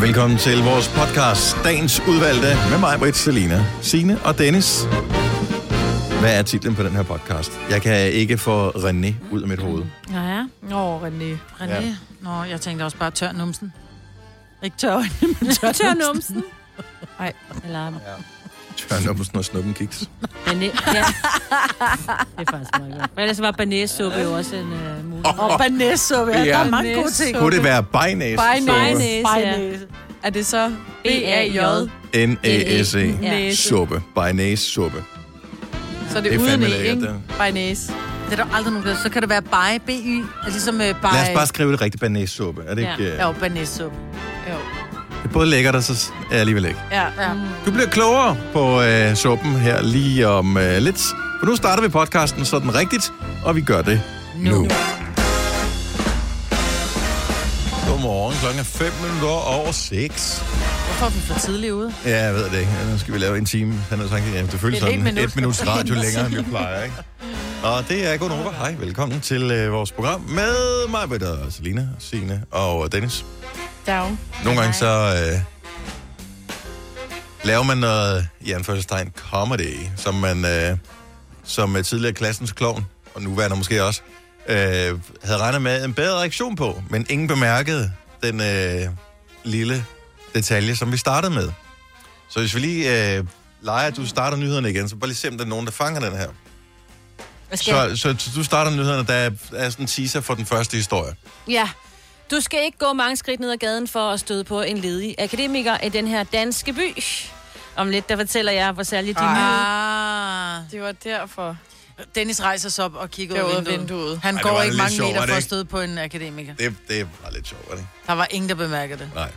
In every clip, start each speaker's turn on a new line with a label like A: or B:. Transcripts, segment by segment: A: velkommen til vores podcast, dagens udvalgte, med mig, Britt, Selina, Signe og Dennis. Hvad er titlen på den her podcast? Jeg kan ikke få René ud af mit hoved.
B: Ja, ja. Nå, René.
C: René?
A: Ja.
C: Ja. Nå, jeg tænkte også bare tør numsen. Ikke tør øjnene, men tør,
B: Tør numsen. Nej, eller... Ja.
A: Tørn op på sådan noget snubbenkiks.
D: Bané... Ja. Det er faktisk meget godt. Men ellers var banæssuppe jo også en uh, mulighed.
C: Og banæssuppe, ja. Der er mange gode ting.
A: Kunne det være Bynæs?
D: Bynæs.
C: Bynæs.
B: Er det så
D: B-A-J?
B: B-A-J?
A: N-A-S-E.
D: Ja.
A: Suppe. Bynæs suppe.
B: Så er det,
A: Det er
B: uden
A: fandme
B: E,
A: lækkert,
B: ikke?
A: det.
B: Bynæs.
C: Det er der aldrig nogen der. Så kan det være by, B-Y. Altså ligesom uh, by...
A: Lad os bare skrive det rigtigt Bynæs suppe. Er det ikke... øh,
C: Ja, jo, banæssuppe.
B: Jo.
A: Det er både lækkert og så er alligevel ikke.
B: Ja. Mm.
C: Ja.
A: Du bliver klogere på øh, suppen her lige om øh, lidt. For nu starter vi podcasten sådan rigtigt, og vi gør det nu. nu. Godmorgen, klokken er 5 minutter over 6.
C: Hvorfor er vi for tidligt ude?
A: Ja, jeg ved det ikke. Nu skal vi lave en time. Han har sagt, ja, det føles
C: Et helt
A: sådan
C: minut.
A: et minuts radio længere, end vi plejer, ikke? Og det er Godnova. Hej, velkommen til øh, vores program med mig, Britt, og Selina, Signe og Dennis.
B: Dag.
A: Nogle gange så øh, laver man noget, i anførselstegn, comedy, som man øh, som øh, tidligere klassens klovn, og nu var der måske også, øh, havde regnet med en bedre reaktion på, men ingen bemærkede den øh, lille detalje, som vi startede med. Så hvis vi lige øh, leger, at du starter nyhederne igen, så bare lige se, om der er nogen, der fanger den her.
D: Hvad skal
A: Så, så du starter nyhederne, der er, er sådan en teaser for den første historie.
D: Ja. Du skal ikke gå mange skridt ned ad gaden for at støde på en ledig akademiker i den her danske by. Om lidt, der fortæller jeg, hvor særligt de nye...
C: Ah.
B: Det var derfor.
C: Dennis rejser sig op og kigger
B: Det
C: ud
B: var
C: af vinduet.
B: vinduet.
C: Han
A: Ej, det
C: går
A: var
C: ikke
A: lidt
C: mange
A: sjovt, var
C: meter
A: det
C: for at
A: ikke?
C: støde på en akademiker.
A: Det, det var lidt sjovt, var det ikke?
C: Der var ingen, der bemærkede det.
A: Nej.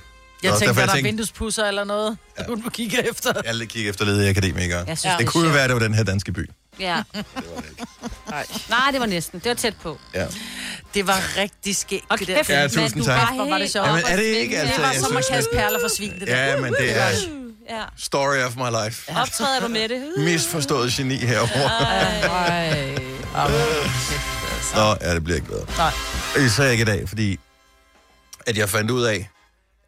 C: Jeg
A: Nå,
C: tænkte,
A: derfor
C: var der
A: tænkte-
C: vinduespusser eller noget, ja. hun må kigge efter.
A: Jeg er lidt kigge efter ledige akademikere.
D: Jeg synes,
A: det,
D: det er
A: kunne jo
D: sjovt.
A: være, at det var den her danske by.
D: Ja. Nej, det var næsten. Det var tæt på.
A: Ja.
C: Det var rigtig skægt,
D: Og
C: det
D: kæft,
C: der.
A: Ja,
D: mand,
A: tusind
D: du
A: tak.
D: var
C: Hvor var det
D: helt
C: sjovt.
D: op
A: Jamen,
D: at
A: er det
D: svinge.
A: ikke,
D: Ja.
A: altså,
C: Det var
A: jeg
C: som at
A: synes,
C: kaste
A: det-
C: perler for svin, det der.
A: ja, men det er
D: Ja.
A: story of my life.
D: Optræder du med det?
A: Misforstået geni herovre.
C: Ej.
A: Nå, ja, det bliver ikke bedre.
C: Nej.
A: Især ikke i dag, fordi at jeg fandt ud af,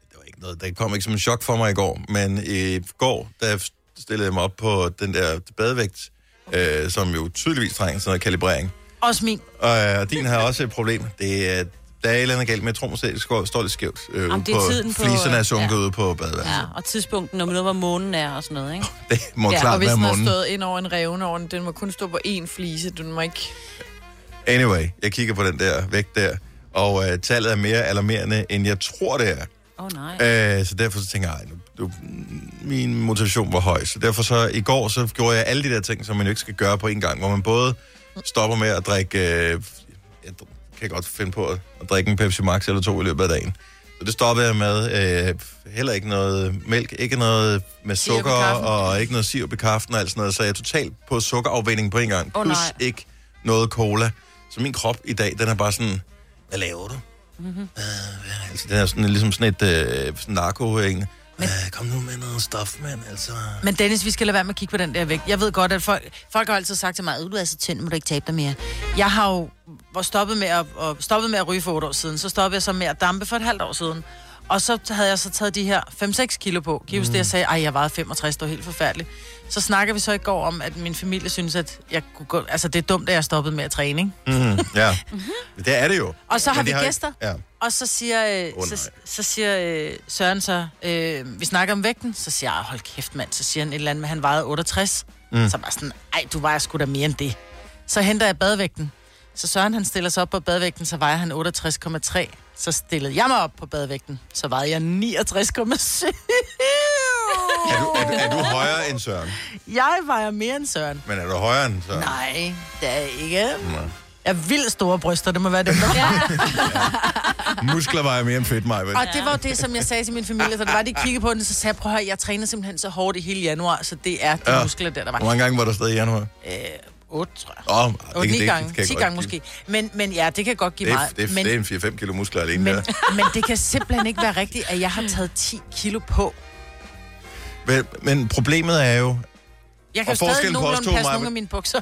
A: det var ikke noget, det kom ikke som en chok for mig i går, men i går, der stillede jeg mig op på den der badevægt, øh, som jo tydeligvis trænger sådan noget kalibrering.
C: Også min.
A: Og, øh, og din har også et problem. Det er, der er et eller andet galt med, jeg tror måske, det står- står lidt skævt. Øh,
D: Jamen, det er tiden på,
A: Fliserne er
D: øh, ja.
A: sunket ude på badeværelset.
D: Ja, og tidspunkten, når man ved, hvor månen er og sådan noget, ikke?
A: Det må ja,
D: Ja,
A: klart
B: Og hvis
A: være
B: den har
A: munden.
B: stået ind over en revne over den, den må kun stå på én flise. Den må ikke...
A: Anyway, jeg kigger på den der vægt der, og øh, tallet er mere alarmerende, end jeg tror, det er.
D: Åh, oh, nej.
A: Øh, så derfor så tænker jeg, ej, nu, du, min motivation var høj. Så derfor så i går, så gjorde jeg alle de der ting, som man jo ikke skal gøre på en gang, hvor man både stopper med at drikke, øh, jeg dr- kan godt finde på at, at drikke en Pepsi Max eller to i løbet af dagen. Så det stoppede jeg med. Øh, heller ikke noget mælk, ikke noget med
C: Sirup i
A: sukker
C: kaffen.
A: og ikke noget sirup i kaffen og alt sådan noget. Så jeg er totalt på sukkerafvænding på en gang.
D: Åh,
A: plus
D: nej.
A: ikke noget cola. Så min krop i dag, den er bare sådan, hvad laver du?
C: Mhm.
A: Altså, det er sådan, ligesom sådan et øh, sådan narko Men... Øh, kom nu med noget stof, mand, altså.
C: Men Dennis, vi skal lade være med at kigge på den der vægt. Jeg ved godt, at folk, folk har altid sagt til mig, "Øh, du er så tynd, må du ikke tabe dig mere. Jeg har jo var stoppet med at, og stoppet med at ryge for otte år siden, så stoppede jeg så med at dampe for et halvt år siden. Og så havde jeg så taget de her 5-6 kilo på. Gives mm. det, jeg sagde, ej, jeg vejede 65, det var helt forfærdeligt. Så snakker vi så i går om, at min familie synes, at jeg kunne gå, altså, det er dumt, at jeg stoppede med at træne, ikke?
A: Mm, ja, det er det jo.
C: Mhm. Og så har
A: Men
C: vi
A: det
C: gæster.
A: Ja.
C: Og så siger, øh,
A: Åh,
C: oh,
A: nej.
C: så, så siger øh, Søren så, øh, vi snakker om vægten, så siger jeg, "Ej, hold kæft mand, så siger han et eller andet med, han vejede 68. Mm. Så var jeg sådan, ej, du vejer sgu da mere end det. Så henter jeg badevægten. Så Søren han stiller sig op på badevægten, så vejer han 68,3. Så stillede jeg mig op på badevægten, så vejede jeg 69,7.
A: Er, du, er, du, er du højere end Søren?
C: jeg vejer mere end Søren.
A: Men er du højere end Søren?
C: Nej, det er jeg ikke. Jeg har vildt store bryster, det må være det. Ja.
A: Mm. Muskler vejer mere end fedt, mig.
C: Og det var jo det, som jeg sagde til min familie, så det var, de kiggede på den, så sagde jeg, prøv at høre, jeg træner simpelthen så hårdt i hele januar, så det er de
A: Ja.
C: ja. muskler, der, der
A: Hvor
C: var. Øh,
A: mange gange var der stadig i januar?
C: 8, tror jeg.
A: Åh, oh,
C: 8, 9 gange, 10 gange måske. Men, men ja, det kan godt give
A: Det er,
C: meget.
A: det, er,
C: men,
A: det er en 4-5 kilo muskler alene
C: men,
A: der.
C: men det kan simpelthen ikke være rigtigt, at jeg har taget 10 kilo på.
A: Men, men problemet er jo,
C: Jeg kan
A: Og
C: jo stadig
A: forskellen på os
C: nogenlunde
A: to,
C: passe
A: Maja,
C: nogle af mine bukser.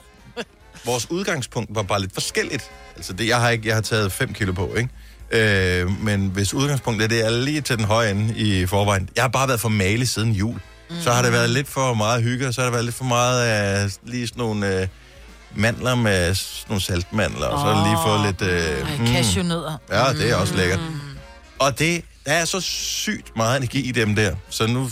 A: vores udgangspunkt var bare lidt forskelligt. Altså, det, jeg, har ikke, jeg har taget 5 kilo på, ikke? Øh, men hvis udgangspunktet det er lige til den høje ende i forvejen. Jeg har bare været for male siden jul. Mm. Så har det været lidt for meget hygge, og så har det været lidt for meget øh, lige sådan nogle øh, mandler med sådan nogle saltmandler, og så har det lige fået lidt... Øh,
C: Mm. Cashewnødder.
A: Ja, det er også lækkert. Og det, der er så sygt meget energi i dem der, så nu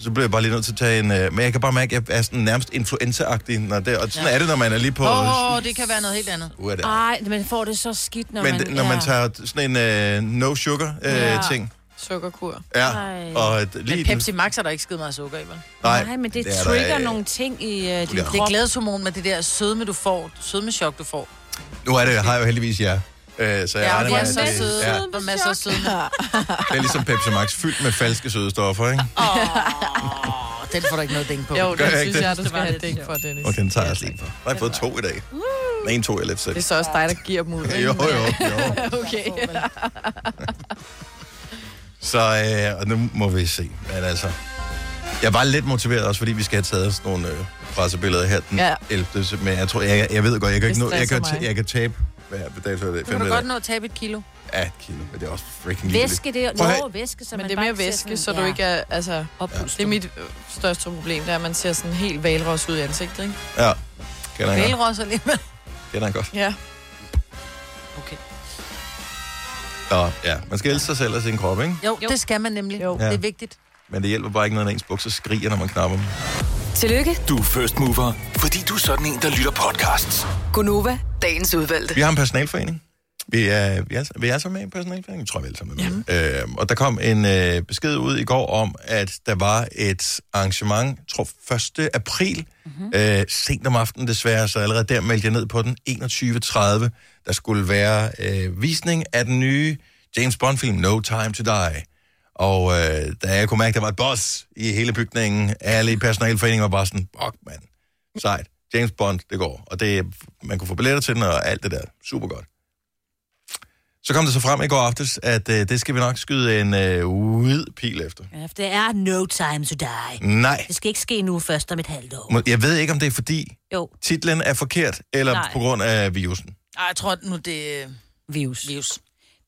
A: så bliver jeg bare lige nødt til at tage en... Øh, men jeg kan bare mærke, at jeg er sådan nærmest influenza-agtig. Når det, og sådan ja. er det, når man er lige på...
C: Åh, oh, det kan være noget helt andet.
A: Uh, er det,
D: Ej, man får det så skidt, når
A: men
D: man...
A: det, når man
D: ja.
A: tager sådan en øh, no-sugar-ting,
D: Ja.
A: øh, ting,
B: Sukkerkur.
A: ja,
D: Ej.
A: og et- lige...
C: Men Pepsi Max er der ikke skide meget sukker i, vel?
A: Nej,
D: Nej, men det,
A: det er der,
D: trigger
A: øh,
D: nogle ting i uh, din
A: Ja.
D: krop.
C: Det er glædeshormon med det der sødme, du får, sødmechok, du får.
A: Nu er det, har jeg jo heldigvis jer. Øh, så jeg
C: Ja, og de
A: regner med,
C: er
A: at
C: så
A: det-
C: søde.
A: Ja,
C: Og masser af sødme.
A: det er ligesom Pepsi Max, fyldt med falske søde stoffer, ikke?
C: Og den får du ikke noget dænk på.
B: Jo,
A: Gør
B: det
A: jeg ikke
B: synes
A: det?
B: jeg, du
D: Det
B: skal
D: var
B: have
D: lidt
B: dæk
D: sjovt.
B: for, Dennis.
A: Okay, den tager jeg også lige på. Jeg har fået to i dag. Den ene tog jeg lidt selv.
B: Det er så også dig, der giver dem ud.
A: Jo, jo, jo.
B: Okay.
A: Så øh, og nu må vi se. Men altså, jeg var lidt motiveret også, fordi vi skal have taget sådan nogle øh, pressebilleder her den ja.
B: Ja.
A: 11. så- Men jeg tror, jeg, jeg ved godt, jeg kan,
B: Det
A: ikke nå, jeg kan,
B: stresser mig.
A: jeg kan tabe hver dag, så er det
C: Så kan du
A: 5
C: godt nå at tabe et kilo.
A: Ja, kilo, men det er også freaking lille.
D: Væske, det er
A: Prøv at høre.
D: Nå, væske, så
B: Men
D: man
B: det er mere
D: bare ikke ser sådan-
B: væske, så du
D: ja.
B: ikke er... Altså, det er mit øh, største problem, det er, at man ser sådan helt valros ud i ansigtet, ikke?
A: Ja, kender jeg godt.
C: Vælros alligevel.
A: Kender jeg godt.
B: Ja.
A: Nå, ja, man skal elske sig selv og sin krop, ikke?
C: Jo, jo, det skal man nemlig. Jo.
B: Jo.
C: Det er vigtigt.
A: Men det hjælper bare ikke, når ens bukser skriger, når man knapper dem.
E: Tillykke,
F: Du er first mover, fordi du er sådan en, der lytter podcasts.
E: Gunova, dagens udvalgte.
A: Vi har en personalforening. Vi er, vi er, vi er så med i en personalforening, Jeg tror vi alle sammen er med. Ja. Øhm, og der kom en øh, besked ud i går om, at der var et arrangement, jeg tror 1. april, mm-hmm. øh, sent om aftenen desværre, så allerede der meldte jeg ned på den, 21.30. Der skulle være øh, visning af den nye James Bond-film, No Time to Die. Og øh, da jeg kunne mærke, at der var et boss i hele bygningen, alle i personalforeningen var bare sådan, fuck mand, sejt. James Bond, det går. Og det, man kunne få billetter til den og alt det der. Super godt. Så kom det så frem i går aftes, at øh, det skal vi nok skyde en øh, hvid pil efter.
C: Ja, for det er no time to die.
A: Nej.
C: Det skal ikke ske nu først om et halvt år.
A: Må- Jeg ved ikke, om det er fordi
C: Jo.
A: titlen er forkert, eller Nej.
D: Nej.
A: på grund af virusen.
C: Ej, jeg tror nu, det er øh,
D: virus.
C: virus.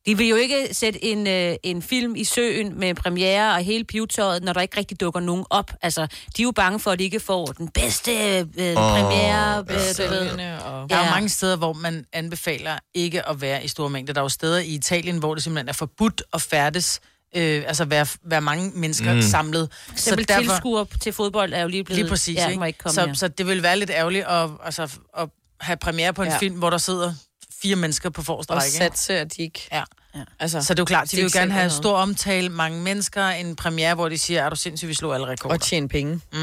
D: De vil jo ikke sætte en, øh, en film i søen med premiere og hele pivetøjet, når der ikke rigtig dukker nogen op. Altså, de er jo bange for, at de ikke får den bedste øh, premiere. Øh,
B: Ja,
D: du ved.
B: og...
C: Der er jo
D: Ja.
C: mange steder, hvor man anbefaler ikke at være i store mængder. Der er jo steder i Italien, hvor det simpelthen er forbudt at færdes, øh, altså være, være mange mennesker mm. samlet.
D: Så derfor... tilskuer til fodbold er jo lige blevet...
C: Lige præcis,
D: ja,
C: ikke?
D: Må ikke komme
C: så,
D: her.
C: så det ville være lidt ærgerligt at, altså, at have premiere på en ja.
B: Ja.
C: film, hvor der sidder fire mennesker på forreste
B: Og
C: række. ikke?
B: satse, at de ikke...
C: Ja.
B: Altså,
C: Så det er jo klart, de vil
B: ikke
C: jo
B: selv
C: gerne have
B: ved noget.
C: stor omtale, mange mennesker, en premiere, hvor de siger, er du sindssyg, vi slog alle rekorder. Mm.
B: Og tjene penge.
A: Men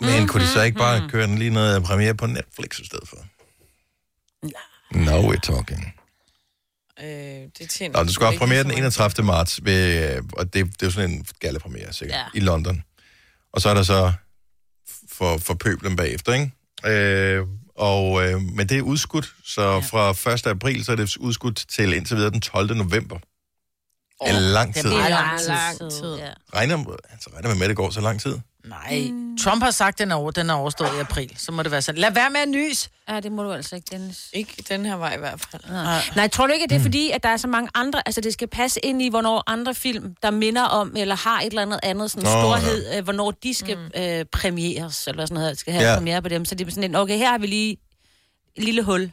A: mm-hmm. kunne de så ikke bare køre den lige noget premiere på Netflix i stedet for? Nej. Now we're talking.
B: Øh, det tjener
A: Nå, du skal have
B: ikke
A: premiere
B: så
A: den
B: meget.
A: 31. marts, ved, øh, og det, det er jo sådan en gallepremiere sikkert, ja. i London. Og så er der så f- for, for pøblen bagefter, ikke? Øh, og, øh, men det er udskudt, så ja. fra 1. april, så er det udskudt til indtil videre den 12. november. Oh, en lang tid.
D: Det er
C: Ej,
D: lang,
B: lang
D: tid.
B: tid.
D: Ja.
A: Regner, altså, regner man med, at det går så lang tid?
C: Nej, Trump har sagt, at den er, over, den er overstået i april. Så må det være sådan. Lad være med at nys!
D: ja, det må du altså ikke, Dennis.
B: Ikke den her vej i hvert fald.
D: Nej. Nej, tror du ikke,
A: Mm.
D: at det er fordi, at der er så mange andre... Altså, det skal passe ind i, hvornår andre film, der minder om, eller har et eller andet andet sådan
A: Nå,
D: Nå, storhed, ja. øh, hvornår de skal mm. øh, premieres, eller hvad sådan noget, skal have
A: Ja.
D: ja. premiere på dem. Så det er sådan en, okay, her har vi lige et lille hul.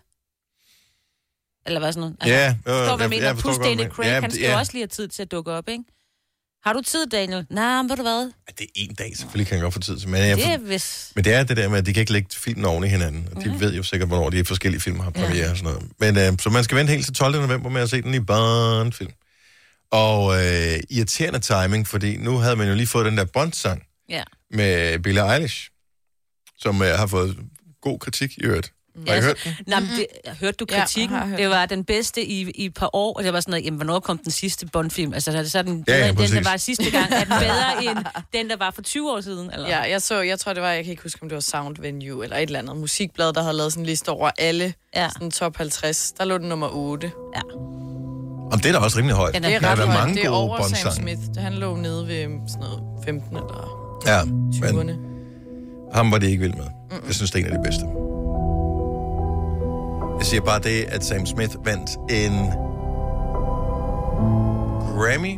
D: Eller hvad sådan noget. Altså,
A: Ja, jo, jo,
D: forstår, hvad
A: jeg-
D: jeg, mener.
A: jeg forstår
D: Plus
A: godt,
D: Daniel
A: hvad-
D: Craig,
A: ja,
D: ja, han
A: det-
D: skal ja.
A: ja.
D: også lige have tid til at dukke op, ikke? Har du tid, Daniel? Nej, men ved du hvad?
A: Ej, Det er en dag, selvfølgelig kan jeg godt få tid til. Men, jeg,
D: Det er hvis...
A: men det er det der med, at de kan ikke lægge filmen oven i hinanden. Og de ved jo sikkert, hvornår de forskellige film har premiere og sådan noget. Men, øh, så man skal vente helt til 12. november med at se den i Bond-film. Og øh, irriterende timing, fordi nu havde man jo lige fået den der Bond-sang
D: Ja.
A: med Billie Eilish, som øh, har fået god kritik i øvrigt. Har I
D: Ja, altså,
A: hørt
D: så, nej, men det, hørte du
B: Ja,
D: kritikken?
B: jeg har hørt
D: det var den bedste i, i et par år, og det var sådan noget, jamen, hvornår kom den sidste Bond-film? Altså, så er det så er den
A: Ja, ja,
D: bedre ja, end den, der
A: præcis.
D: var sidste gang, er den bedre end den, der var for 20 år siden? Eller?
B: Ja, jeg så, jeg tror det var, jeg kan ikke huske, om det var Sound Venue eller et eller andet musikblad, der havde lavet sådan en liste over alle,
D: Ja.
B: ja. sådan top 50. Der lå den nummer 8.
D: ja.
A: Om det er da også rimelig højt.
D: Den
A: Der
D: er
B: Det
A: har
B: er ret
A: været
B: højt.
A: mange
B: det er
A: gode
B: over Sam
A: Bond-sange.
B: Smith. Han lå nede ved um, sådan noget 15 eller
A: Ja,
B: 20'erne.
A: men ham var det ikke vild med. Jeg synes, det er en af de bedste. Jeg siger bare det, at Sam Smith vandt en Grammy,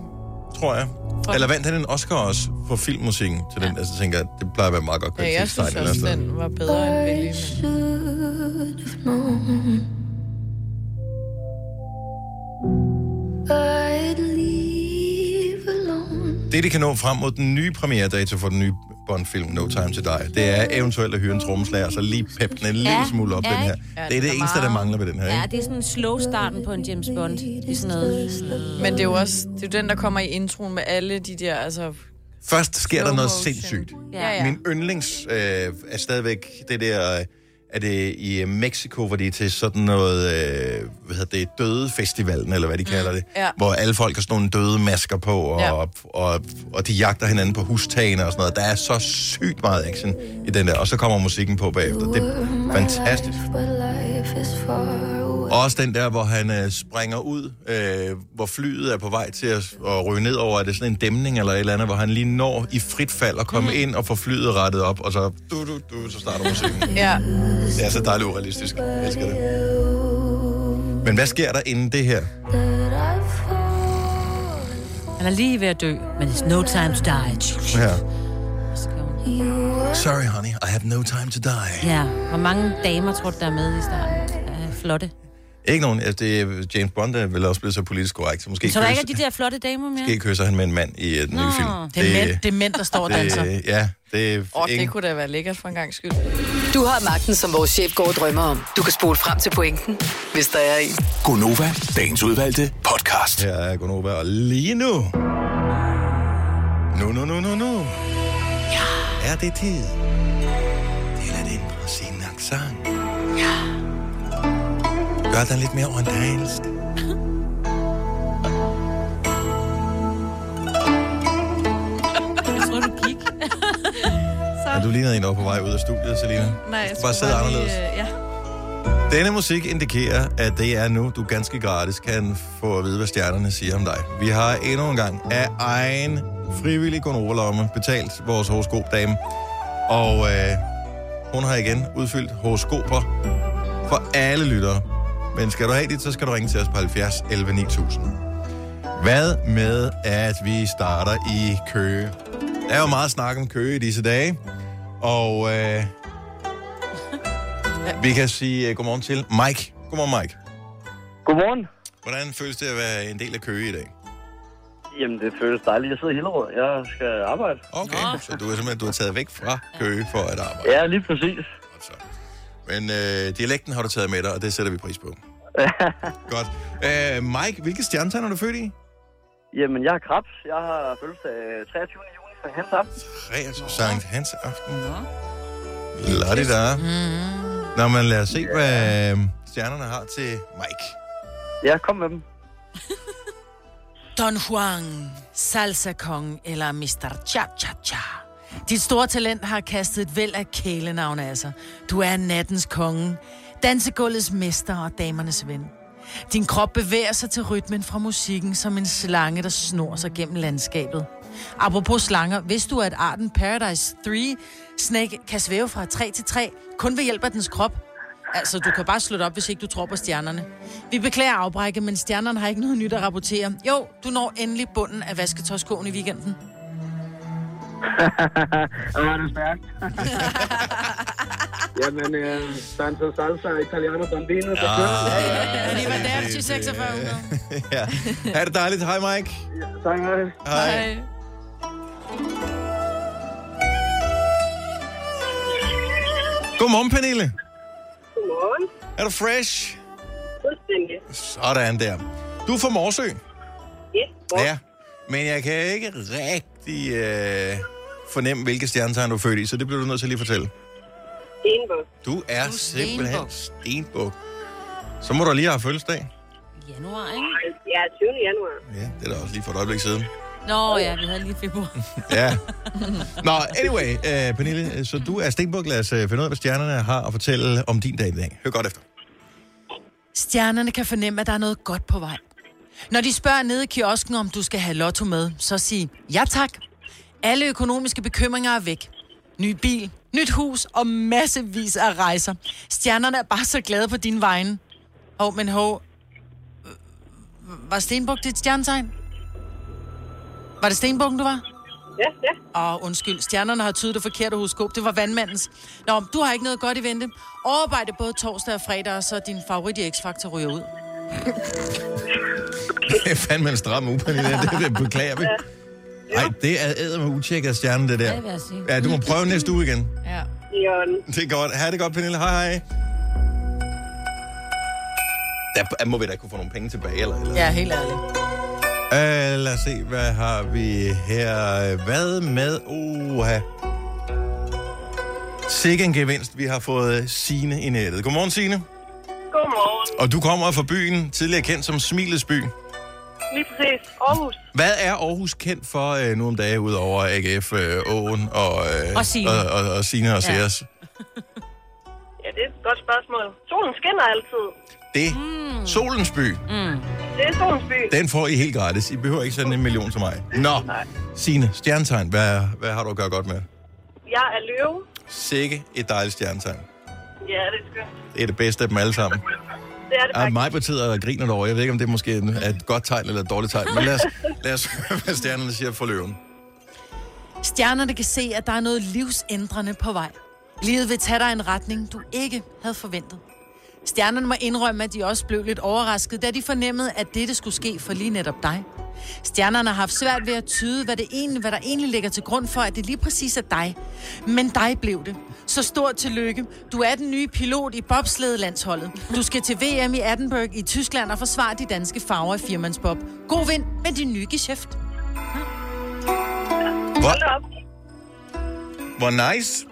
A: tror jeg.
B: For-
A: Eller vandt han en Oscar også for filmmusikken til den? Altså, jeg tænker, det plejer at være meget godt
B: Ja, jeg synes
A: kvalitetstegn
B: også,
A: eller sådan
B: den var bedre end Billy. Men...
A: Det, de kan nå frem mod den nye premieredato for den nye Bond-film No Time to Die, det er eventuelt at hyre en trommeslager, og så lige peppe den en lille
D: Ja,
A: smule op,
D: ja,
A: den her.
D: ikke?
A: det er det eneste, der mangler ved den her,
D: Ja,
A: ikke?
D: det er sådan en slow starten på en James Bond. Det er sådan noget...
B: men det er jo også det er jo den, der kommer i introen med alle de der, altså...
A: Først sker der noget
B: motion.
A: sindssygt.
B: Ja, ja.
A: Min yndlings øh, er stadigvæk det der... Øh, er det i øh, Mexico, hvor de er til sådan noget, øh, hvad hedder det, dødefestivalen, eller hvad de kalder det,
B: ja.
A: hvor alle folk har sådan nogle døde masker på, og,
B: Ja.
A: og, og, og de jagter hinanden på hustagene og sådan noget. Der er så sygt meget action i den der, og så kommer musikken på bagefter. Det er fantastisk. Og også den der, hvor han øh, springer ud, øh, hvor flyet er på vej til at, at ryge ned over. Er det sådan en dæmning eller et eller andet, hvor han lige når i frit fald at
B: Mhm.
A: komme ind og få flyet rettet op, og så, du, du, du, så starter musikken.
B: Ja,
A: Det er så dejligt urealistisk. Jeg elsker det. Men hvad sker der inden det her?
D: Han er lige ved at dø, men it's no time to die.
A: her? Sorry, honey. I have no time to die.
D: Ja, hvor mange damer tror du, der er med i starten? Ja, flotte.
A: Ikke nogen. Altså, det er James Bond, der vil også blive så politisk korrekt. Så måske
D: Så der ikke er
A: kysser-
D: de der flotte damer mere?
A: måske kysser han med en mand i øh, den nye
D: Nå.
A: film.
C: Det er, mænd, det er mænd, der står og danser.
A: det, ja, det er
B: og det
A: ingen-
B: kunne da være lækkert for en gang skyld.
E: Du har magten, som vores chef går og drømmer om. Du kan spole frem til pointen, hvis der er en.
F: Gonova, dagens udvalgte podcast.
A: Her er Gunova, og lige nu... Nu, nu, nu, nu, nu... Ja. Er det tid? Til at ændre sin accent. Ja. Gør den lidt mere orientalsk.
D: Jeg tror, du gik.
A: Er du ligner en, der var på vej ud af studiet, Selina?
B: Nej, jeg
A: Bare
B: skulle
A: sidde anderledes.
B: øh, ja.
A: Denne musik indikerer, at det er nu, du ganske gratis kan få at vide, hvad stjernerne siger om dig. Vi har endnu en gang af egen frivillig gonorlomme betalt vores horoskopdame. Og øh, hun har igen udfyldt horoskoper for alle lyttere. Men skal du have dit, så skal du ringe til os på 70 11 9000. Hvad med, at vi starter i Køge? Der er jo meget snak om Køge i disse dage. Og... Øh, vi kan sige uh, godmorgen til Mike. Godmorgen, Mike.
G: Godmorgen.
A: Hvordan føles det at være en del af Køge i dag?
G: Jamen, det føles dejligt. Jeg sidder i Hillerød. Jeg skal arbejde.
A: Okay, så du er simpelthen du er taget væk fra Køge for at arbejde.
G: Ja, lige præcis.
A: Godt så. Men øh, dialekten har du taget med dig, og det sætter vi pris på. Godt. Øh, Mike, hvilke stjernetegn er du født i?
G: Jamen, jeg er krebs. Jeg har fødselsdag øh, 23. juni, så hans aften.
A: 23. Sankt Hans Aften. La di da.
G: Mm-hmm.
A: Nå, men lad os se, hvad øh, stjernerne har til Mike.
G: Ja, kom med dem.
C: Don Juan, Salsa Kong eller Mr. Cha Cha Cha. Dit store talent har kastet et væld af kælenavne af sig. Du er nattens konge, dansegulvets mester og damernes ven. Din krop bevæger sig til rytmen fra musikken som en slange, der snor sig gennem landskabet. Apropos slanger, hvis du er et arten Paradise 3 snake kan svæve fra 3 til 3, kun ved hjælp af dens krop, Altså, du kan bare slå det op, hvis ikke du tror på stjernerne. Vi beklager afbrækket, men stjernerne har ikke noget nyt at rapportere. Jo, du når endelig bunden af vasketøjskoen i weekenden.
G: Hvor er det stærkt. Jamen, øh, Santa Salsa, Italiano Bambino, så kører det.
C: Ja, det var der til 4600.
A: ja. Er det dejligt? Hej, Mike.
G: Tak, hej.
A: Hej. Godmorgen, Pernille.
H: Godmorgen.
A: Er du fresh?
H: Fuldstændig.
A: Sådan der. Du er fra Morsø.
H: Yes.
A: Ja. Men jeg kan ikke rigtig øh, fornemme, hvilke stjernetegn du er født i, så det bliver du nødt til at lige fortælle.
H: Stenbog.
A: Du er,
C: Du er
A: simpelthen
C: stenbuk.
A: stenbuk. Så må du lige have fødselsdag.
D: Januar, ikke?
H: Ja, 20. januar.
A: Ja, det er da også lige for et øjeblik siden.
D: Nå ja, vi havde lige februar.
A: Ja. Nå, anyway, øh, Pernille, så du er stenbuk. Lad os øh, finde ud af, hvad stjernerne har at fortælle om din dag i dag. Hør godt efter.
C: Stjernerne kan fornemme, at der er noget godt på vej. Når de spørger nede i kiosken, om du skal have lotto med, så sig ja tak. Alle økonomiske bekymringer er væk. Ny bil, nyt hus og massevis af rejser. Stjernerne er bare så glade på din vegne. Hov, men hov, øh, var Stenbuk dit stjernetegn? Var det Stenbukken, du var?
H: Ja, ja.
C: Åh, undskyld. Stjernerne har tydet det forkerte horoskop. Det var vandmandens. Nå, du har ikke noget godt i vente. Overvej det både torsdag og fredag, og så din favorit i X-Factor ryger ud.
A: Det er fandme en stram uge, Pernille. Det, det beklager vi. Nej, det er æder med utjekket af stjernen, det der.
D: det vil jeg sige.
A: Ja, du må prøve næste uge igen.
B: Ja.
H: I orden.
A: Det er godt. Ha' det godt, Pernille. Hej, hej. Der må vi da kunne få nogle penge tilbage, eller? eller?
C: Ja, helt ærligt.
A: Uh, lad os se, hvad har vi her? Hvad med? Oha. Sikke en gevinst. Vi har fået Sine i nettet. Godmorgen, Sine.
H: Godmorgen.
A: Og du kommer fra byen, tidligere kendt som Smilets by.
H: Lige præcis. Aarhus.
A: Hvad er Aarhus kendt for øh, nu om dagen, udover AGF, øh, Åen og, øh,
D: Og Signe.
A: og, og, og, Signe og
D: Ja.
A: Sears?
H: Ja, det er et godt spørgsmål. Solen skinner altid.
A: Det. Mm. Solens by. Mm.
H: Det er solens by.
A: Den får I helt gratis. I behøver ikke sende en million til mig. Nå, Signe, stjernetegn. Hvad, hvad har du at gøre godt med?
H: Jeg er løve.
A: Sikke et dejligt stjernetegn.
H: Ja, det er skønt.
A: Det er det bedste af dem alle sammen.
H: Det er det
A: Ja,
H: faktisk.
A: mig betyder og griner derovre. Jeg ved ikke, om det måske er et godt tegn eller et dårligt tegn. Men lad os, lad os høre, hvad stjernerne siger for løven.
C: Stjernerne kan se, at der er noget livsændrende på vej. Livet vil tage dig i en retning, du ikke havde forventet. Stjernerne må indrømme, at de også blev lidt overrasket, da de fornemmede, at dette skulle ske for lige netop dig. Stjernerne har haft svært ved at tyde, hvad, det egentlig, hvad der egentlig ligger til grund for, at det lige præcis er dig. Men dig blev det. Så stort tillykke. Du er den nye pilot i bobsledelandsholdet. Du skal til VM i Edinburgh i Tyskland og forsvare de danske farver i firmandsbob. God vind med din nye geschæft.
A: Hvor,
H: Hold da op.
A: hvor nice.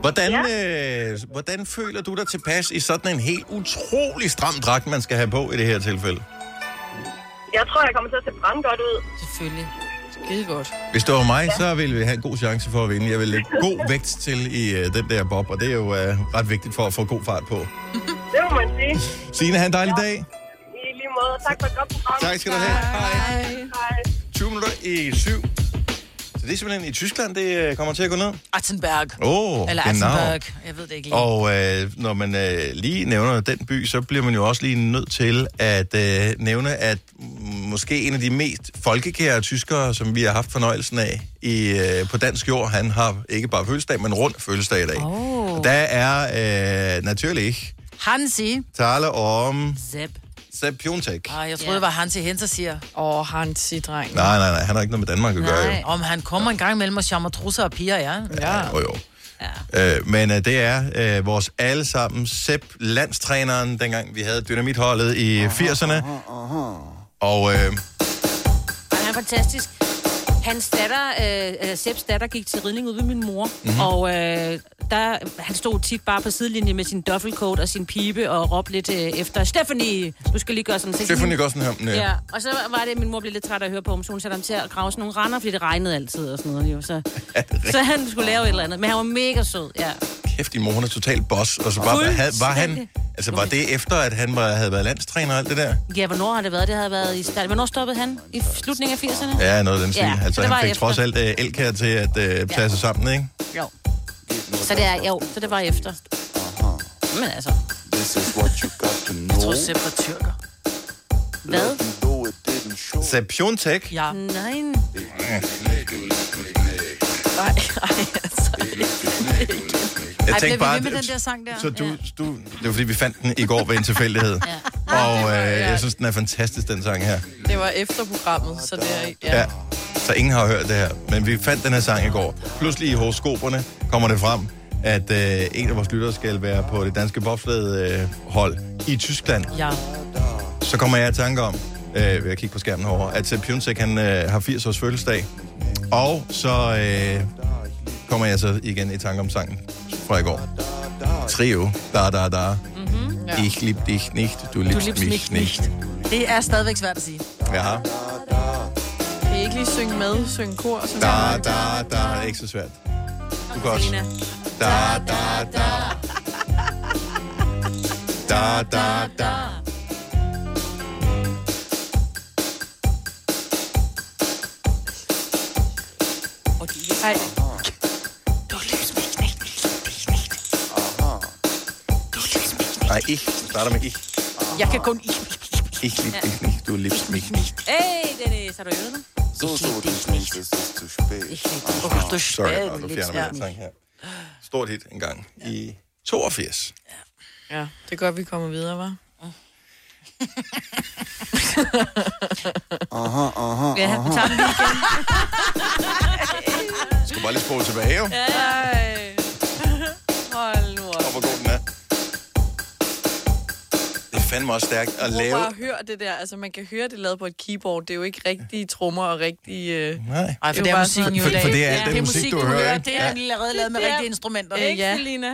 A: Hvordan, ja. øh, hvordan føler du dig tilpas i sådan en helt utrolig stram dragt, man skal have på i det her tilfælde?
H: Jeg tror, jeg kommer til at se brandgodt ud.
D: Selvfølgelig.
B: Skide godt.
A: Hvis det var mig, så ville vi have en god chance for at vinde. Jeg vil lægge god vægt til i øh, den der bob, og det er jo øh, ret vigtigt for at få god fart på.
H: Det må man sige.
A: Signe, have en dejlig dag.
H: I lige måde. Tak for et godt program.
A: Tak skal du have. Hej.
H: Hej.
A: 20 minutter i syv. Så det er simpelthen i Tyskland, det øh, kommer til at gå ned.
C: Attenberg.
A: Åh, oh,
C: Eller Attenberg. Jeg ved det ikke lige.
A: Og øh, når man øh, lige nævner den by, så bliver man jo også lige nødt til at øh, nævne, at m- måske en af de mest folkekære tyskere, som vi har haft fornøjelsen af i, øh, på dansk jord, han har ikke bare fødselsdag, men rundt fødselsdag i dag. Oh. Der er øh, naturlig
C: Hansi.
A: tale om
D: Zep.
A: Sepp Piontek.
C: Ah, jeg troede,
D: Ja.
C: det var Hansi Henser siger.
B: Åh, Hansi, dreng.
A: Nej, nej, nej, han har ikke noget med Danmark at gøre. jo.
D: Nej.
C: Om han kommer en gang imellem og jammer trusser og piger, ja.
A: Ja. Jo, jo. Ja. Øh, men øh, det er øh, vores allesammen Sepp, landstræneren, dengang vi havde dynamitholdet i 80'erne. Og øh,
D: Og han er fantastisk. Hans datter, øh, eller Seps datter, gik til ridning ude ved min mor,
A: Mhm.
D: mm-hmm. og øh, der, han stod tit bare på sidelinjen med sin duffelcoat og sin pibe og råbte lidt øh, efter, Stephanie, du skal lige gøre sådan. Så-
A: Stephanie går sådan her. Næ.
D: Ja, og så var det, at min mor blev lidt træt af at høre på ham, så hun satte ham til at grave sådan nogle render, fordi det regnede altid og sådan noget. Jo. Så, så han skulle lave et eller andet, men han var mega sød, ja.
A: Kæft, din mor, hun er totalt boss. Og så bare, havde, var han...
D: Fuldstændig.
A: Altså, var det efter, at han var, havde været landstræner og alt det der?
D: Ja, hvornår har det været? Det havde været i start. Hvornår stoppede han? I slutningen af 80'erne?
A: Ja, noget af den stil.
D: Ja,
A: Ja, altså,
D: det var
A: han fik
D: efter.
A: trods alt øh, Elkær til at øh, tage sig sammen, ikke?
D: Jo. Så det er, jo, så det var efter. Men altså,
C: Jeg tror, Sepp var tyrker.
D: hvad?
A: Sepp Piontek.
C: Ja.
D: Nej.
B: Nej, nej, altså.
A: Jeg
C: Ej,
A: tænkte
C: blev vi
A: bare,
C: ved med
A: at-
C: den der sang der?
A: Så du, du, det var fordi, vi fandt den i går ved en tilfældighed.
D: Ah,
A: ja. Og øh, jeg synes, den er fantastisk, den sang her.
B: Det var efter programmet, så det er... Ja.
A: Ja. Så ingen har hørt det her. Men vi fandt den her sang i går. Pludselig i horoskoperne kommer det frem, at øh, en af vores lyttere skal være på det danske bobsled, øh, hold i Tyskland.
C: Ja.
A: Så kommer jeg i tanke om, øh, ved at kigge på skærmen herovre, at Sepp Piontek, han øh, har 80 års fødselsdag. Og så øh, kommer jeg så igen i tanke om sangen fra i går. Trio, da da da. Mm-hmm. Ja. Ich lieb dich nicht, du liebst,
C: liebst
A: mich,
C: mich
A: nicht.
C: Det er stadigvæk svært at sige.
A: Ja,
B: Kan I ikke lige synge med, synge kor? Sådan
A: da da da. Det er ikke så svært. Du kan også.
D: Selina.
A: Da, da, da. Da, da, da.
B: Ej,
A: Nej, ich. Du starter med ich.
C: Jeg kan kun...
A: Ich lieb dich nicht, du liebst mich nicht.
D: Hey, Dennis, har du øvet den?
C: Åh, du er
A: Sorry,
C: spæd,
A: og nu
C: lidt
A: fjerner
C: svær.
A: man den sang her. Stort hit en gang i 82.
B: Ja, det er godt, vi kommer videre, var.
D: Ja, vi tager den lige igen.
A: Skal bare lige spole tilbage, jo. Ja.
B: Ej. Hold nu op.
A: Hvor god den er. Det er fandme også stærkt at
B: Prøv
A: lave...
B: bare at høre det der. Altså, man kan høre det lavet på et keyboard. Det er jo ikke rigtige trommer og rigtige... Øh...
A: Nej.
C: Ej, for
B: jo
C: det er
B: bare
C: musikken
B: sådan-
C: jo i
A: For,
C: dag.
A: for det er
C: Ja,
A: alt
C: det er
A: den musik, du hører, ikke?
C: Det er allerede lavet med
B: Det er-
C: rigtige instrumenter.
B: Ikke,
C: Ja.
B: Selina?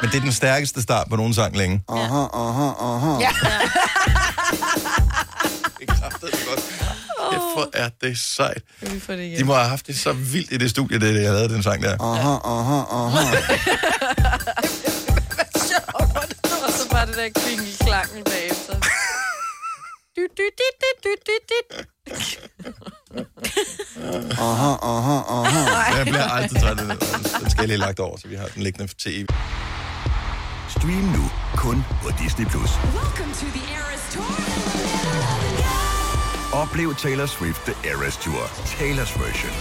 A: Men det er den stærkeste start på nogen sang længe. Aha, aha, aha. Ja. det er kraftedeme godt. Kæft, Hvor er det sejt.
B: Kan vi få det
A: De
B: igen?
A: må have haft det så vildt i det studie, det jeg lavede den sang der.
B: Og så bare det der klinge klangen bagefter. Du, du, du, du, du, du, du.
A: Jeg bliver altid træt af den. Den skal jeg lige have lagt over, så vi har den liggende til evigt.
I: Stream nu kun på Disney+. Plus. Oplev Taylor Swift The Eras Tour, Taylor's version.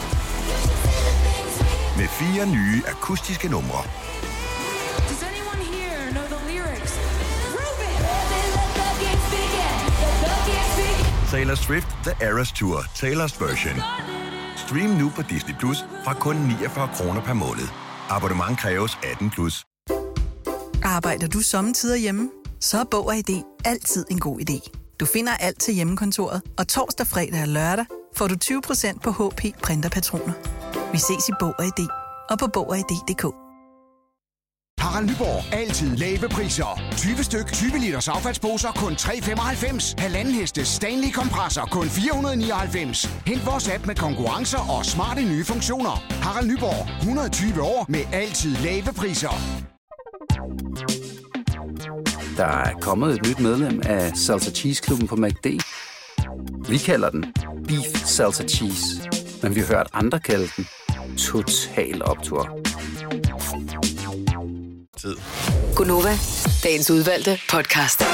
I: Med fire nye akustiske numre. Taylor Swift The Eras Tour, Taylor's version. Stream nu på Disney Plus fra kun 49 kroner per måned. Abonnement kræves 18 plus.
J: Arbejder du sommetider hjemme? Så er Bog og ID altid en god idé. Du finder alt til hjemmekontoret, og torsdag, fredag og lørdag får du 20% på HP printerpatroner. Vi ses i Bog og ID og på Bog og ID.dk.
I: Harald Nyborg. Altid lave priser. 20 styk, 20 liters affaldsposer kun 3,95. Halvanden heste Stanley kompresser kun 499. Hent vores app med konkurrencer og smarte nye funktioner. Harald Nyborg. 120 år med altid lave priser.
K: Der er kommet et nyt medlem af Salsa Cheese Klubben på MACD. Vi kalder den Beef Salsa Cheese, men vi har hørt andre kalde den Total Optor.
A: Tid.
E: Gunova, dagens udvalgte podcast.
A: 6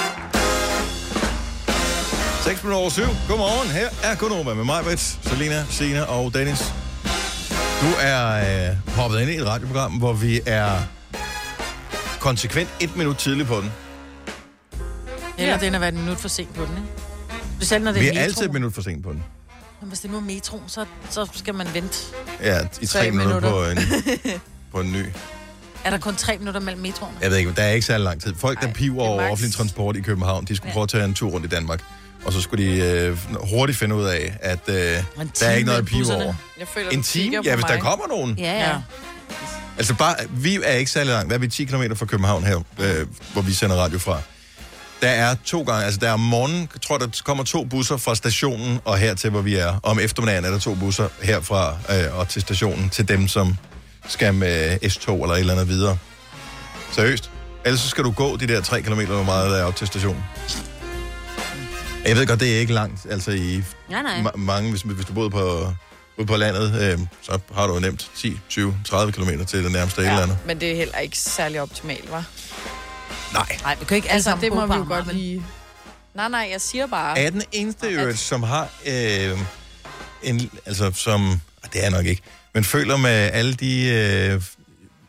A: minutter over 7. Godmorgen. Her er Konoba med mig, Brits, Selina, Sina og Dennis. Du er øh, hoppet ind i et radioprogram, hvor vi er konsekvent et minut tidlig på den.
C: Eller det er at være en minut for sent på den, ikke? Specielt når det
A: Vi
C: er,
A: er altid et
C: metro.
A: minut for sent på den.
C: Men hvis det nu er metroen, så, så skal man vente.
A: Ja, i tre
C: Tre
A: minutter,
C: minutter.
A: På, en, på en ny.
C: Er der kun tre minutter mellem metroen?
A: Jeg ved ikke, der er ikke særlig lang tid. Folk, der
C: Nej,
A: piver
C: det er
A: over
C: max.
A: offentlig transport i København, de skulle prøve at tage en tur rundt i Danmark. Og så skulle de øh, hurtigt finde ud af, at øh, der er
C: time
A: ikke noget at
C: mellem
A: pive
C: busserne.
A: over.
B: Jeg føler,
A: En
B: du kigger
A: time?
B: på
A: Ja, hvis der
B: mig.
A: kommer nogen.
D: Ja, ja.
C: Ja.
A: Altså bare, vi er ikke særlig langt. Hvad er vi 10 km fra København her, øh, hvor vi sender radio fra? Der er to gange, altså der er om morgenen, jeg tror der kommer to busser fra stationen og her til, hvor vi er. Om eftermiddagen er der to busser herfra øh, og til stationen, til dem, som skal med S2 eller et eller andet videre. Seriøst. Ellers så skal du gå de der 3 km, hvor meget der er op til stationen. Jeg ved godt, det er ikke langt, altså i
D: Nej, nej.
A: ma- mange, hvis, hvis du boede på, ude på landet, øh, så har du jo nemt 10, 20, 30 km til det nærmeste ja. et eller andet.
B: Men det er heller ikke særlig optimalt, var.
A: Nej.
C: Nej, vi kan ikke alle
B: Altså,
C: sammen
B: det
C: bo
B: må
C: på
B: vi jo
C: Amager,
B: godt
C: men-
B: lige... Nej, nej, jeg siger bare...
A: Er den eneste øvrigt, som har... Øh, en, altså, som... ah, Det er jeg nok ikke. Men føler med alle de øh,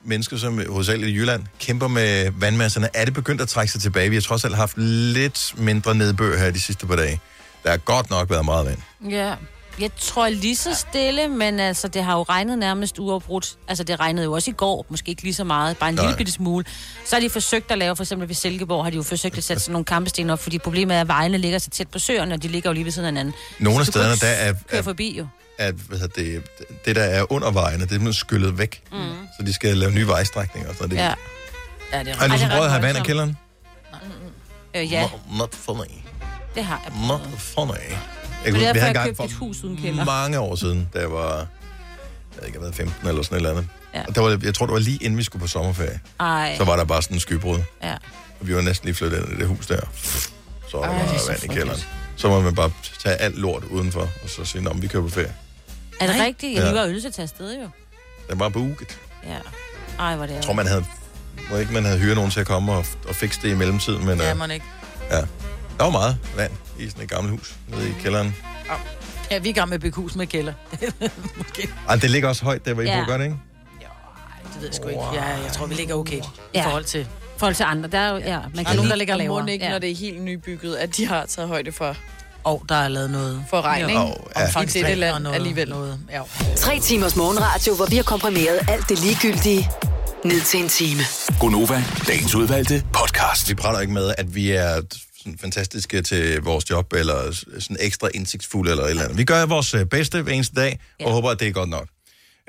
A: mennesker, som hovedsageligt i Jylland, kæmper med vandmasserne, er det begyndt at trække sig tilbage? Vi har trods alt haft lidt mindre nedbør her de sidste par dage. Der har godt nok været meget vand.
D: Øh, Ja. Jeg tror lige så stille, men altså, det har jo regnet nærmest uafbrudt. Altså, det regnede jo også i går, måske ikke lige så meget, bare en
A: Nej.
D: lille bitte smule. Så har de forsøgt at lave, for eksempel ved Silkeborg, har de jo forsøgt at sætte sådan nogle kampesten op, fordi problemet er, at vejene ligger så tæt på søerne, og de ligger jo lige ved siden af hinanden.
A: Nogle af
D: Så du kan
A: stederne,
D: ikke
A: der er- er-
D: Køre forbi jo.
A: At hvad hedder det, det, der er under vejene, det er blevet skyllet væk. Mm. Så de skal lave nye vejstrækninger og sådan noget.
D: Ja.
A: Ja.
C: Ja, det er
A: Har
C: rigtigt.
A: du
D: Ej, det
A: så
D: er
A: prøvet at
D: ret
A: have vand i
D: voldsomt. Mm,
A: kælderen?
D: Øh, ja,
A: Not, not funny.
D: det har jeg.
A: Not funny. Jeg
D: Det
A: kunne,
D: er
A: vi
D: derfor,
A: havde
D: jeg
A: engang
D: købte
A: for
D: et hus uden kælder.
A: mange år siden, da jeg var jeg ved ikke, jeg var 15 eller sådan et eller andet.
D: Ja.
A: Og Der var, jeg tror, det var lige inden vi skulle på sommerferie.
D: Ej,
A: Så var der bare sådan en skybrud.
D: ja.
A: Og vi var næsten lige flyttet ind i det hus der. Så var der
B: det er
A: meget
B: så
A: vand i
B: frygteligt.
A: kælderen. Så må man bare tage alt lort udenfor, og så sige, om vi kører på ferie.
D: Er det rigtigt? Jeg
A: Ja.
D: lige var ønset til afsted jo.
A: Den var booket.
D: Ja. Ej, hvor det er.
A: Jeg tror, man havde må ikke man havde hyret nogen til at komme og, og fikse det i mellemtiden, men
C: Ja,
A: ja,
C: må den ikke.
A: ja. Der var meget vand i sådan et gammelt hus nede i kælderen.
C: Ja, vi er i gang med at bygge hus med kælder. Måske.
A: Ej, det ligger også højt der, hvor I
C: Ja.
A: bor, gør det, ikke?
C: Det ved jeg sgu ikke. Ja, jeg tror, vi ligger okay ja. i
D: Ja.
C: forhold til...
D: I forhold til andre, der er jo... Ja, man
C: Der
D: kan
C: er nogen,
D: lide-
C: der ligger
D: og
C: lavere.
D: mon
B: ikke, når det er helt nybygget, at de har taget højde for...
C: Og der er lavet noget.
B: For regning.
C: Jo, ja.
B: I dette land
C: noget.
B: alligevel.
C: Noget. Ja.
E: Tre timers morgenradio, hvor vi har komprimeret alt det ligegyldige ned til en time.
A: Gonova, dagens udvalgte podcast. Vi prater ikke med, at vi er sådan fantastiske til vores job, eller s- sådan ekstra indsigtsfulde, eller et eller andet. Vi gør vores øh, bedste hver eneste dag, og håber, at det er godt nok.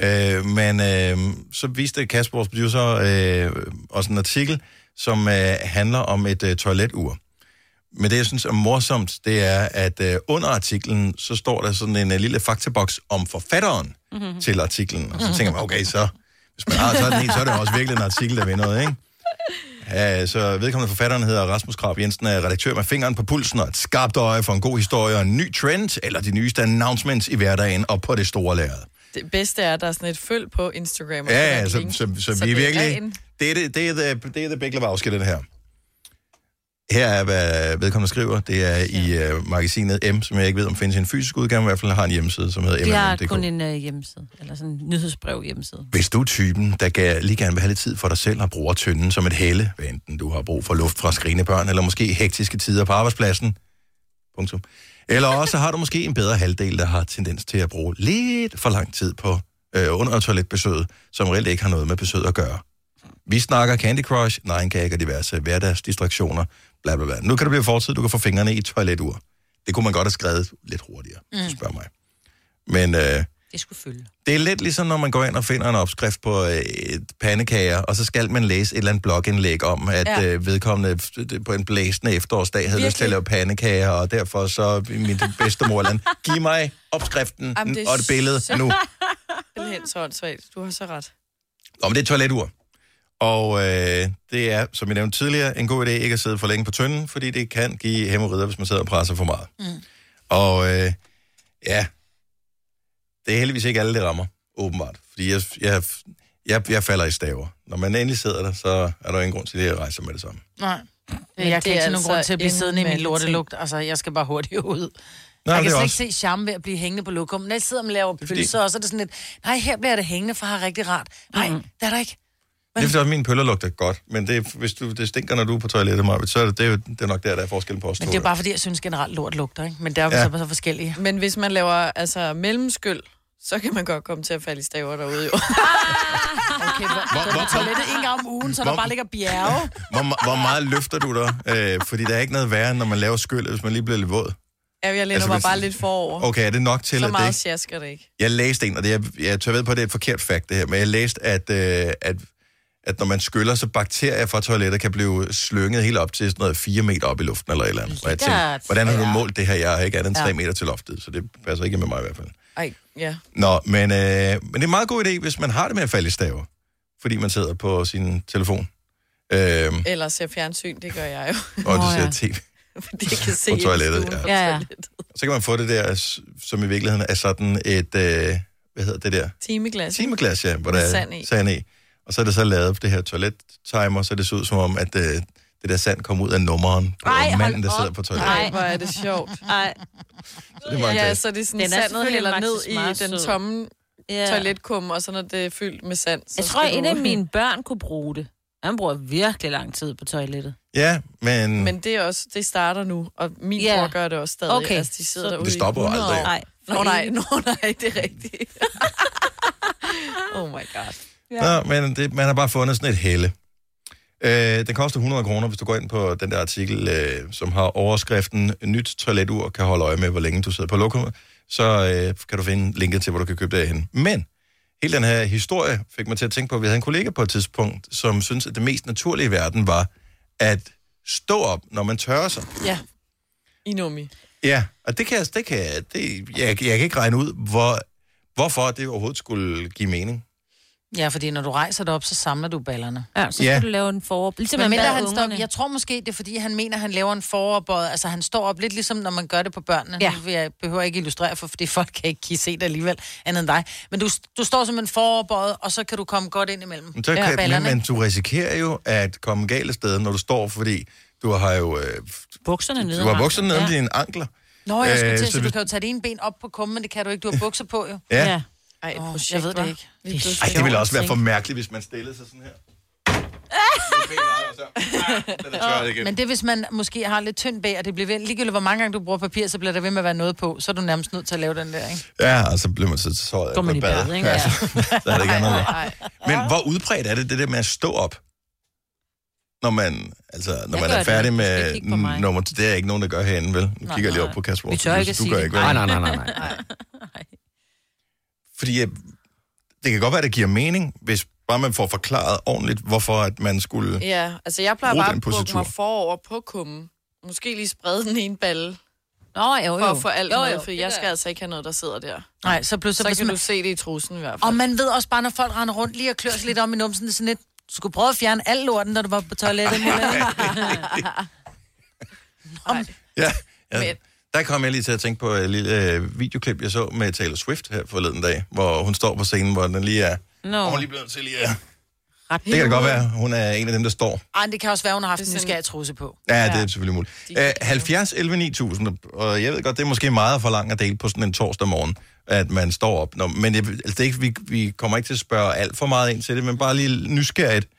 A: Øh, men øh, så viste Kasper, vores producer, øh, også en artikel, som øh, handler om et øh, toiletur. Men det, jeg synes er morsomt, det er, at øh, under artiklen, så står der sådan en øh, lille faktaboks om forfatteren
B: Mhm.
E: Mhm.
A: mm-hmm. til artiklen. Og så tænker man, okay, så hvis man har sådan en, så er det jo også virkelig en artikel, der vil noget, ikke? Ja, så vedkommende forfatteren hedder Rasmus Krab Jensen, er redaktør med fingeren på pulsen og et skarpt øje for en god historie og en ny trend, eller de nyeste announcements i hverdagen og på det store lærred.
B: Det bedste er, at der er sådan et følg på Instagram. og
A: Ja,
B: sådan
A: ja,
B: et
A: så,
B: link.
A: så, så,
B: Så
A: vi er
B: det er
A: virkelig...
B: en-
A: Det er det, det, er det, det, er det Big Lebowski, den her. Her er, hvad vedkommende skriver. Det er i uh, magasinet M, som jeg ikke ved, om findes i en fysisk udgave, men i hvert fald har en hjemmeside, som hedder
D: De har
A: mm.dk.
D: kun en øh, hjemmeside, eller sådan en nyhedsbrev hjemmeside.
A: Hvis du er typen, der ga- lige gerne vil have lidt tid for dig selv og bruger tynden som et helle, hvad enten du har brug for luft fra skrigende børn, eller måske hektiske tider på arbejdspladsen, punktum. eller også har du måske en bedre halvdel, der har tendens til at bruge lidt for lang tid på øh, under toiletbesøget, som reelt ikke har noget med besøget at gøre. Vi snakker Candy Crush, Nine Gag og diverse hverdagsdistraktioner, bla bla bla. Nu kan det blive fortid, du kan få fingrene i et toiletur. Det kunne man godt have skrevet lidt hurtigere, mm. spørg mig. Men øh,
D: Det skulle fylde.
A: det er lidt ligesom, når man går ind og finder en opskrift på øh, et pandekager, og så skal man læse et eller andet blogindlæg om, at
B: Ja.
A: ja. øh, vedkommende f- på en blæsende efterårsdag havde Virkelig? lyst til at lave pandekager, og derfor så min bedstemor eller andet, giv mig opskriften
B: Jamen, det er
A: og et billede
B: så-
A: nu.
B: Simpelthen så åndssvagt. Du har så ret.
A: Nå, men det er et toiletur. Og øh, det er, som jeg nævnte tidligere, en god idé ikke at sidde for længe på tynden, fordi det kan give hæmorider, hvis man sidder og presser for meget. Mm. Og øh, ja, det er heldigvis ikke alle, det rammer, åbenbart. Fordi jeg, jeg, jeg, jeg falder i staver. Når man endelig sidder der, så er der ingen grund til, at jeg rejser med det samme.
C: Nej.
B: Men
C: Men jeg
B: det
C: kan ikke
B: er
C: se nogen
B: altså
C: grund til at blive
B: en
C: siddende i min
B: mandlig
C: lortelugt. Altså, jeg skal bare hurtigt ud.
A: Nej,
C: Nej, jeg kan
A: det er
C: slet
A: også-
C: ikke se charme ved at blive hængende på lokummet. Når jeg sidder og laver
A: fordi-
C: pølser, og så er det sådan lidt, nej, her bliver det hængende, for jeg har rigtig rart. Nej, mm. det er der ikke.
A: Det er fordi, også mine pøller lugter godt, men det, er- hvis du, det stinker, når du er på toilettet, Marvitt, så er det, det, er jo- det er nok der, der er forskellen på os
C: Men
A: to,
C: det er
A: jo.
C: bare fordi, jeg synes generelt lort lugter, ikke? Men der er jo
A: Ja.
C: ja. så, så forskellige.
B: Men hvis man laver altså, mellemskyld, så kan man godt komme til at falde i staver derude, jo.
C: Okay, hvor,
A: Hvor-
C: hvor,
A: hvor-
C: hvor, toilettet en gang om ugen, så
A: hvor-
C: der bare ligger bjerge.
A: Hvor, hvor meget løfter du dig? Øh, fordi der er ikke noget værre, end når man laver skyld, hvis man lige bliver lidt våd.
B: Ja, jeg læner
A: Altså,
B: altså, mig
A: hvis-
B: bare lidt forover.
A: Okay, er det nok til,
B: så
A: at det
B: meget
A: ikke...
B: sjasker det ikke.
A: Jeg læste en, og det, jeg, jeg tør ved på, at det er et forkert fakt, det her, men jeg læste, at, øh, at, at når man skyller, så bakterier fra toiletter kan blive slynget helt op til sådan noget 4 meter op i luften eller et eller andet. Og jeg tænkte,
B: Lækkert.
A: hvordan har du målt det her? Jeg har ikke andet end 3
B: Ja.
A: meter til loftet, så det passer ikke med mig i hvert fald.
B: Ej, ja.
A: Nå, men, øh, men det er en meget god idé, hvis man har det med at falde i staver, fordi man sidder på sin telefon. Øh,
B: Eller ser fjernsyn, det gør jeg jo.
A: og du ser tv.
B: Fordi jeg kan se
A: På
B: ind i
A: toilettet,
B: stuen.
A: ja.
B: ja. ja.
A: Så kan man få det der, s- som i virkeligheden er sådan et, øh, hvad hedder det der?
B: Timeglas.
A: Timeglas, ja, hvor der
B: Med
A: er
B: sand i.
A: sand i. Og så er det så lavet på det her toilettimer, så det ser ud som om, at øh, det der sand kom ud af nummeren på
B: Ej,
A: manden,
B: hold
A: der
B: op.
A: sidder på toilettet.
B: Nej, hvor er det sjovt.
D: Ej.
A: det var en
B: ja,
A: klasse.
B: så det er sådan,
D: Den er
B: sandet
D: selvfølgelig
B: hælder ned
D: faktisk meget
B: i den
D: sød.
B: tomme
D: Ja.
B: ja. toiletkum, og så når det er fyldt med sand. Så
D: Jeg tror,
B: skal
D: en
B: du-
D: af mine børn kunne bruge det. Han bruger virkelig lang tid på toilettet.
A: Ja, men, men
B: Men det, er også, det starter nu, og min
D: Ja.
B: yeah. bror gør det også stadig.
D: Okay.
B: Altså, de sidder
D: Så-
B: derude
A: Det
B: i
A: stopper jo
B: 100
A: aldrig.
B: år.
D: Nej.
B: Nå nej, nå nej, det er rigtigt. oh my god.
A: ja. Nå, men det, man har bare fundet sådan et helle. Øh, den koster 100 kroner, hvis du går ind på den der artikel, øh, som har overskriften Nyt toiletur kan holde øje med, hvor længe du sidder på lokummet. Så øh, kan du finde linket til, hvor du kan købe det hen. Men hele den her historie fik mig til at tænke på, at vi havde en kollega på et tidspunkt, som syntes, at det mest naturlige i verden var at stå op, når man tørrer sig.
B: Ja. I nummi.
A: Ja, og det kan, jeg- det kan jeg- det, jeg, jeg kan ikke regne ud, hvor, hvorfor det overhovedet skulle give mening.
C: Ja, fordi når du rejser dig op, så samler du ballerne.
D: Ja, så skal Ja. du lave en forop. Ligesom
C: Ligesom
D: man
C: Men mindre,
D: bader
C: han står,
D: ungerne.
C: jeg tror måske, det er fordi, han mener, han laver en foroverbøjet. Altså, han står op lidt ligesom, når man gør det på børnene. Ja. Nu vil jeg behøver ikke illustrere for, fordi folk kan ikke se det alligevel, andet end dig. Men du, du står som en foroverbøjet, og så kan du komme godt ind imellem.
A: Men, så kan, men,
C: ballerne,
A: men
C: ikke?
A: du risikerer jo at komme galt af sted, når du står, fordi du har jo... Øh,
D: bukserne
A: du har bukserne nede om dine ankler.
C: Nå, jeg skulle
A: Øh,
C: til, at
A: så
C: sige, du
A: hvis-
C: kan jo tage det ene ben op på kummen, men det kan du ikke. Du har bukser på, jo.
A: Ja. Ja.
B: Ej, et
C: Åh,
B: projekt,
C: jeg ved det
B: hva'?
C: ikke.
B: Lige pludselig.
A: Ej, det ville også være for mærkeligt, hvis man stillede sig sådan her. Den er tørret igen.
C: Men det er, hvis man måske har lidt tynd bag, og det bliver ved, ligegyldigt hvor mange gange du bruger papir, så bliver der ved med at være noget på, så er du nærmest nødt til at lave den der, ikke?
A: Ja, og så blev man så såret.
C: Går man i bad, ikke?
A: Ja, så, så er det ikke andet.
C: Nej.
A: Men hvor udbredt er det, det der med at stå op? Når man, altså, når
D: Jeg
A: man
D: gør
A: er
D: det.
A: færdig
D: Du skal
A: med
D: kigge på mig.
A: nummer... Det er der ikke nogen, der gør herinde, vel? Nu
D: Nej,
A: kigger jeg lige
D: nej.
A: op på Kasper.
D: Vi tør
A: Du-
D: ikke at
A: du
D: sige
A: gør
D: det.
A: ikke, vel?
D: Nej, nej, nej, nej, nej.
A: Fordi øh, det kan godt være, det giver mening, hvis bare man får forklaret ordentligt, hvorfor at man skulle...
B: Ja, altså jeg plejer
A: Brug
B: bare
A: den
B: at bukke
A: positur.
B: mig forover på kummen. Måske lige sprede den ene balle.
C: Nå, jo,
B: For
C: jo.
B: at få alt
C: Jo,
B: jo,
C: jo,
B: med, for
C: det
B: jeg
C: gør
B: skal altså ikke have noget, der sidder der.
C: Nej, så pludselig-
B: Så
C: hvis
B: kan
C: man-
B: du se det i trusen i hvert fald.
C: Og man ved også bare, når folk render rundt lige og klør sig lidt om i numsen, det er sådan lidt, du skulle prøve at fjerne al lorten, da du var på toilettet. om,
A: Ja, ja. Der kom jeg lige til at tænke på et lille øh, videoklip, jeg så med Taylor Swift her forleden dag, hvor hun står på scenen, hvor den lige er...
C: no.
A: Hun er lige blevet til lige at... Det kan det godt være, hun er en af dem, der står.
C: Ej, det kan også være, hun har haft en nysgerrig trusse på.
A: Ja, det er selvfølgelig muligt. Øh, Æ, 70, 11, 9000, og jeg ved godt, det er måske meget for langt at dele på sådan en torsdag morgen, at man står op. Nå, men jeg, altså, det er ikke, vi, vi kommer ikke til at spørge alt for meget ind til det, men bare lige nysgerrigt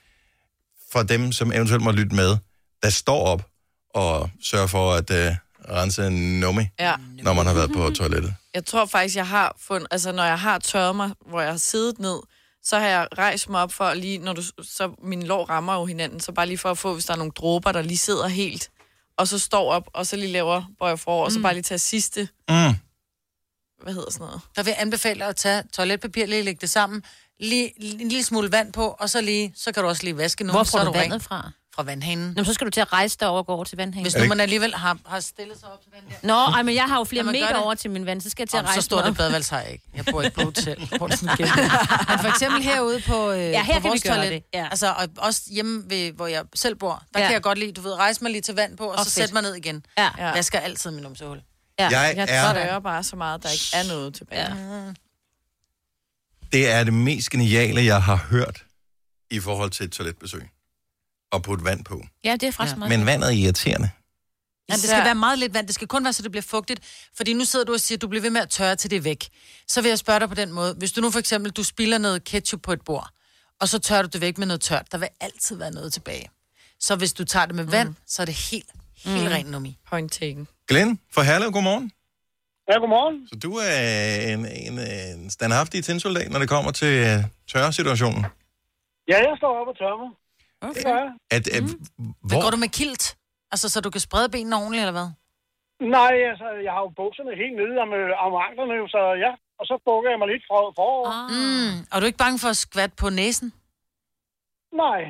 A: for dem, som eventuelt må lytte med, der står op og sørger for at øh, rense en nummi,
B: Ja.
A: når man har været på toilettet.
B: Jeg tror faktisk, jeg har fundet, altså når jeg har tørret mig, hvor jeg har siddet ned, så har jeg rejst mig op for at lige, når du, så mine lår rammer jo hinanden, så bare lige for at få, hvis der er nogle dråber, der lige sidder helt, og så står op, og så lige laver bøjer for, og så bare lige tager sidste,
A: Mm.
B: hvad hedder sådan noget?
C: Der vil jeg anbefale at tage toiletpapir, lige lægge det sammen, lige, lige en lille smule vand på, og så lige, så kan du også lige vaske nu.
D: Hvor
C: så
D: får
C: er
D: du
C: ren.
D: vandet fra?
C: Fra vandhanen.
D: Jamen, så skal du til at rejse dig over og gå over til vandhanen.
C: Hvis nu man alligevel har, har stillet sig op til den der.
D: Nå, ej, men jeg har jo flere
C: Når man gør
D: meter
C: det-
D: over til min vand, så skal jeg til at
C: Jamen,
D: rejse
C: så står
D: mig
C: det
D: op.
C: badevalg sig ikke. Jeg bor ikke på hotel. Jeg bor sådan en kæmpe. Men for eksempel herude på, øh,
D: Ja, her
C: på
D: kan vi
C: vores
D: gøre
C: toilet,
D: det,
C: ja. altså og også hjemme, ved, hvor jeg selv bor, der
D: Ja.
C: ja. kan jeg godt lide, du ved, rejse mig lige til vand på, og, og
D: Og
C: så
D: fedt.
C: sætte mig ned igen.
D: Ja.
C: Jeg skal altid min numsehul.
A: Ja. Jeg
B: jeg
A: er-
B: tørrer bare så meget, der ikke er noget tilbage. Ja.
A: Det er det mest geniale, jeg har hørt i forhold til et toiletbesøg. Og putte vand på.
D: Ja, det er faktisk ja. meget.
A: Men vandet er irriterende.
C: Ja, det skal være meget lidt vand. Det skal kun være, så det bliver fugtigt. Fordi nu sidder du og siger, at du bliver ved med at tørre til det er væk. Så vil jeg spørge dig på den måde. Hvis du nu for eksempel, du spilder noget ketchup på et bord, og så tørrer du det væk med noget tørt, der vil altid være noget tilbage. Så hvis du tager det med vand, mm. så er det helt, helt
B: Mm.
C: mm. rent nummi.
B: Point taken.
A: Glenn fra Herlev, godmorgen.
L: Ja, godmorgen.
A: Så du er en, en, en standhaftig tændsoldat, når det kommer til øh, tørresituationen.
L: Ja, jeg står op og tørrer mig. Okay. Det gør jeg.
A: At, øh,
L: Mhm.
C: Hvor? Går
A: hvor,
C: du med kilt? Altså, så du kan sprede benene ordentligt, eller hvad?
L: Nej, altså, jeg har jo bukserne helt nede om, øh, om anklerne, jo, så ja. Og så bukker jeg mig lidt fra forover. Ah.
C: Mm. Og er du ikke bange for at skvatte på næsen?
L: Nej.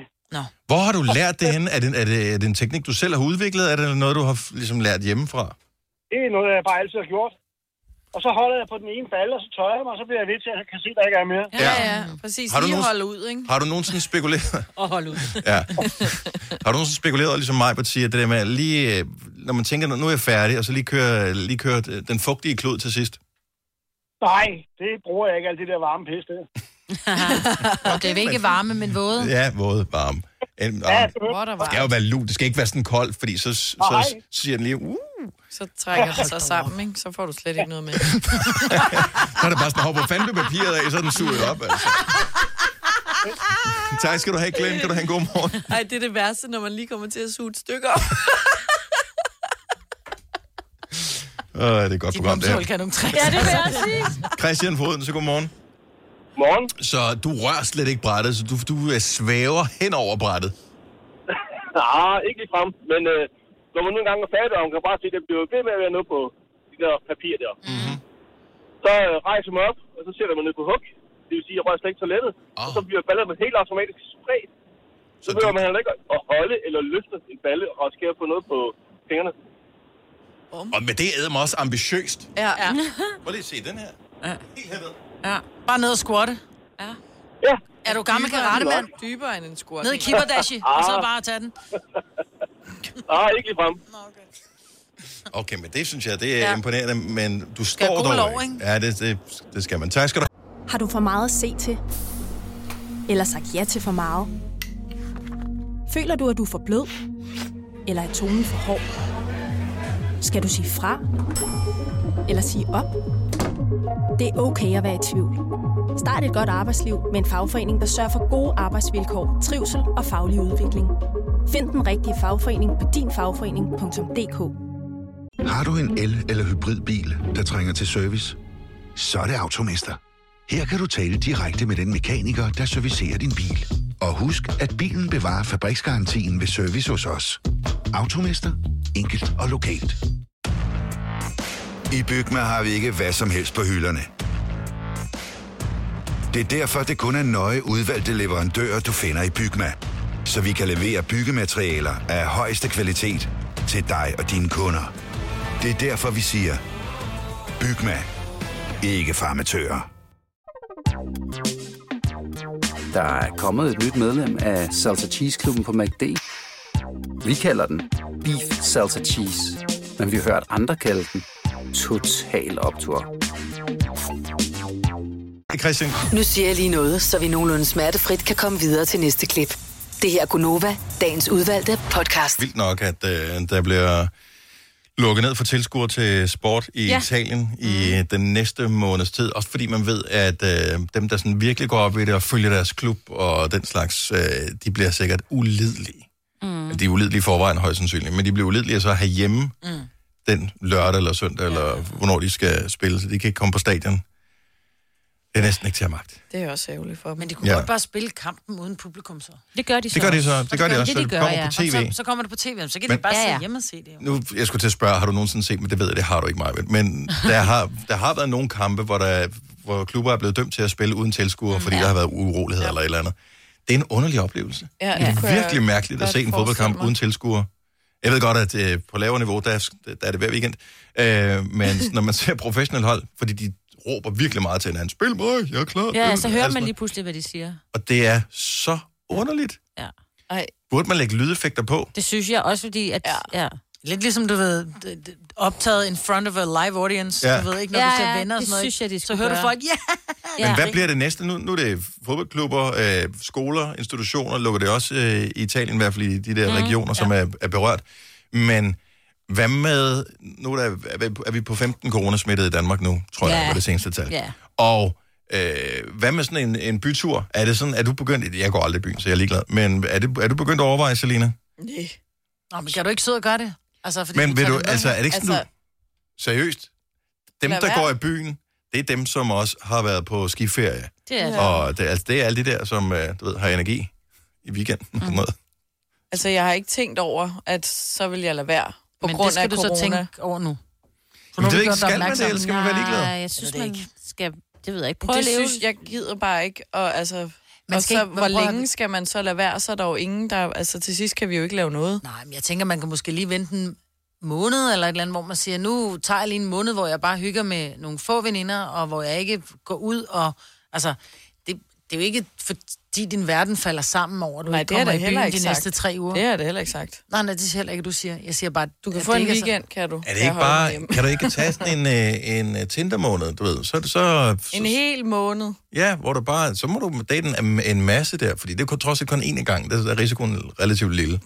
A: hvor har du lært det henne? Er det, er, det, er det en teknik, du selv har udviklet? Er det noget, du har f- ligesom lært hjemmefra?
L: Det er noget, jeg bare altid har gjort. Og så holder jeg på den ene balle, og så tørrer jeg mig, og så bliver jeg ved til, at jeg kan se, at der ikke er mere.
A: Ja,
B: ja, præcis.
A: Har du
B: lige
A: nogen-
B: holde ud, ikke?
A: Har du nogensinde spekuleret?
D: Og holde ud.
A: ja. Har du nogensinde spekuleret, ligesom mig, at sige, at det der med at lige, øh, når man tænker, nu er jeg færdig, og så lige kører, lige kører øh, den fugtige klud til sidst?
L: Nej, det bruger jeg ikke, alt det der varme pis der.
C: Og det er vel ikke varme, men våde.
A: Ja, våd, varm. En,
L: Ja,
A: varm. Det skal jo være lun. Det skal ikke være sådan koldt, fordi så, så, så
B: Nej.
A: siger den lige, uh,
B: Så trækker det sig sammen, ikke? Så får du slet ikke noget med.
A: Så er det bare sådan, hopper fandt du papiret af, så er den suget op, altså. tak skal du have, Glenn. Kan du have en god morgen?
B: Ej, det er det værste, når man lige kommer til at suge et stykke op.
A: Åh, det er et godt program, det her.
C: nogle
B: trække. Ja, det vil jeg sige.
A: Christian Foden, så god morgen.
L: Morgen.
A: Så du rører slet ikke brættet, så du, du øh, svæver hen over brættet.
L: Nej, ikke lige frem, men øh, når man nogle gange er færdig, og man kan bare se, at det bliver ved med at være nede på de der papir der. Mm-hmm. Så øh, rejser man op, og så sætter man ned på hug. Det vil sige, at jeg rører slet ikke toilettet. Oh. Og så bliver ballerne helt automatisk spredt. Så behøver man heller ikke at holde eller løfte en balle og skære på noget på fingrene.
A: Og med det æder mig også ambitiøst.
B: Ja, ja.
A: Prøv lige at se den her.
C: Ja. Bare ned og squatte.
L: Ja,
C: Er du gammel
B: Dybere-
C: karatemand?
B: Dybere end en skurk.
C: Ned i kibberdashi, og så bare tage den.
L: Ah, ikke ligefrem.
A: Okay, men det synes jeg, det er
M: Ja.
A: ja. imponerende, men du
M: Skal
A: står
M: god
A: dog
M: lov,
A: ikke.
M: ikke?
A: Ja, det, det, det skal man. Tak skal du
M: Har du for meget at se til? Eller sagt ja til for meget? Føler du, at du er for blød? Eller er tonen for hård? Skal du sige fra? Eller sige op? Det er okay at være i tvivl. Start et godt arbejdsliv med en fagforening, der sørger for gode arbejdsvilkår, trivsel og faglig udvikling. Find den rigtige fagforening på dinfagforening.dk
N: Har du en el- eller hybridbil, der trænger til service? Så er det Automester. Her kan du tale direkte med den mekaniker, der servicerer din bil. Og husk, at bilen bevarer fabriksgarantien ved service hos os. Automester. Enkelt og lokalt.
O: I Bygma har vi ikke hvad som helst på hylderne. Det er derfor, det kun er nøje udvalgte leverandører, du finder i Bygma. Så vi kan levere byggematerialer af højeste kvalitet til dig og dine kunder. Det er derfor, vi siger, Bygma. Ikke farmatører.
K: Der er kommet et nyt medlem af Salsa Cheese Klubben på MACD. Vi kalder den Beef Salsa Cheese, men vi har hørt andre kalde den Total Optor.
A: have, Christian.
E: Nu siger jeg lige noget, så vi nogenlunde smertefrit kan komme videre til næste klip. Det her er Gunova, dagens udvalgte podcast.
A: Vildt nok, at øh, der bliver lukket ned for tilskuer til sport i
E: Ja.
A: ja. Italien i mm. den næste måneds tid. Også fordi man ved, at øh, dem, der sådan virkelig går op i det og følger deres klub og den slags, øh, de bliver sikkert ulidelige. Mm. De er ulidelige i forvejen højst sandsynligt, men de bliver ulidelige så herhjemme mm. den lørdag eller søndag, ja. eller hvornår de skal spille, så de kan ikke komme på stadion. Det er næsten ikke til at magte.
B: Det er også ærgerligt for dem. Men de
A: kunne Ja. godt
C: Bare spille kampen uden publikum så.
D: Det gør de
A: så Det gør de også. så. Det gør de også, så det kommer på
C: Og
A: TV.
C: Så, så kommer det på tv, så kan de
A: Men-
C: bare
A: Ja,
C: ja, ja.
A: ja.
C: sidde hjemme og se det. jo.
A: Nu, jeg skulle til at spørge, har du nogensinde set, men det ved jeg, det har du ikke meget. Men der har, der har været nogle kampe, hvor, der, hvor klubber er blevet dømt til at spille uden tilskuere, fordi ja. der har været uroligheder ja. eller et eller andet. Det er en underlig oplevelse.
B: Ja,
A: det
B: det kunne
A: er
B: jeg
A: virkelig mærkeligt at
B: godt
A: se en fodboldkamp uden tilskuere. Jeg ved godt, at øh, på lavere niveau, der, er- der er det hver weekend. Øh, men når man ser professionelle hold, fordi de råber virkelig meget til hinanden, spil mig, jeg er klar.
D: Ja,
A: Øh,
D: så hører
A: altså,
D: man lige pludselig, hvad de siger.
A: Og det er så underligt.
D: Ja. Ej,
A: Burde man lægge lydeffekter på?
D: det synes jeg også, fordi at... Ja. ja.
C: Lidt ligesom, du ved, d- d- optaget in front of a live audience.
A: Ja.
C: Du ved ikke, når
D: Ja,
C: du ser
D: ja,
C: venner og
D: det
C: sådan noget.
D: synes jeg, de
C: så
D: skulle
C: hører du
D: gøre.
C: folk, ja!
A: Men hvad bliver det næste? Nu, nu er det fodboldklubber, øh, skoler, institutioner, lukker det også øh, i Italien, i hvert fald i de der
P: Mhm,
A: mm, regioner, ja. som er, er berørt. Men hvad med, nu er, der, er vi på 15 coronasmittede i Danmark nu, tror ja.
P: Ja.
A: jeg, var det seneste tal.
P: Ja.
A: Og øh, hvad med sådan en, en bytur? Er det sådan, er du begyndt, jeg går aldrig i byen, så jeg er ligeglad, men er, det, er du begyndt at overveje, Selina?
B: Nej.
C: Nå, men kan du ikke sidde og gøre det? Altså, fordi
A: Men
C: du
A: vil
C: tager
A: du-
C: det med
A: altså,
C: her.
A: er det ikke sådan, du- Seriøst? Dem,
C: Lad
A: der
C: være.
A: går i byen, det er dem, som også har været på skiferie.
B: Det er det.
A: Og det, altså, det er alle de der, som øh, du ved, har energi i weekenden. Mm. Sådan noget.
B: Altså, jeg har ikke tænkt over, at så vil jeg lade være. På
C: Men
B: grund
C: det skal
B: af
C: du så
B: corona.
C: tænke over nu.
A: Men det er ikke,
C: gjort dig
A: skal man det,
C: opmærksom.
A: eller skal man være ligeglad?
D: Nej, jeg synes,
C: Jeg ved
D: man
C: det ikke.
D: skal... Det ved jeg ikke. Prøv
B: Det
D: at leve.
B: synes jeg gider bare ikke. Og, altså,
C: Man
B: og
C: skal
B: så,
C: ikke-
B: hvor
C: man prøver-
B: længe skal man så lade være? Så er der jo ingen, der... Altså, til sidst kan vi jo ikke lave noget.
C: Nej, men jeg tænker, man kan måske lige vente en måned eller et eller andet, hvor man siger, nu tager jeg lige en måned, hvor jeg bare hygger med nogle få veninder, og hvor jeg ikke går ud og... Altså, det, det er jo ikke fordi din verden falder sammen over, at du
B: Nej,
C: ikke
B: det er
C: kommer
B: da
C: i byen
B: heller
C: de
B: ikke sagt.
C: næste tre uger.
B: Det er det heller ikke sagt.
C: Nej, nej, det siger jeg heller ikke, du siger. Jeg siger bare,
B: Du kan
C: at
B: få
C: det
B: en
C: ikke er så-
B: weekend, kan du.
A: Er det ikke bare, kan du ikke tage sådan en, øh, en øh, Tinder-måned, du ved? Så, så,
B: En hel måned.
A: ja, hvor du bare, så må du date en, en masse der, fordi det er kun- trods alt kun én gang, der er risikoen relativt lille.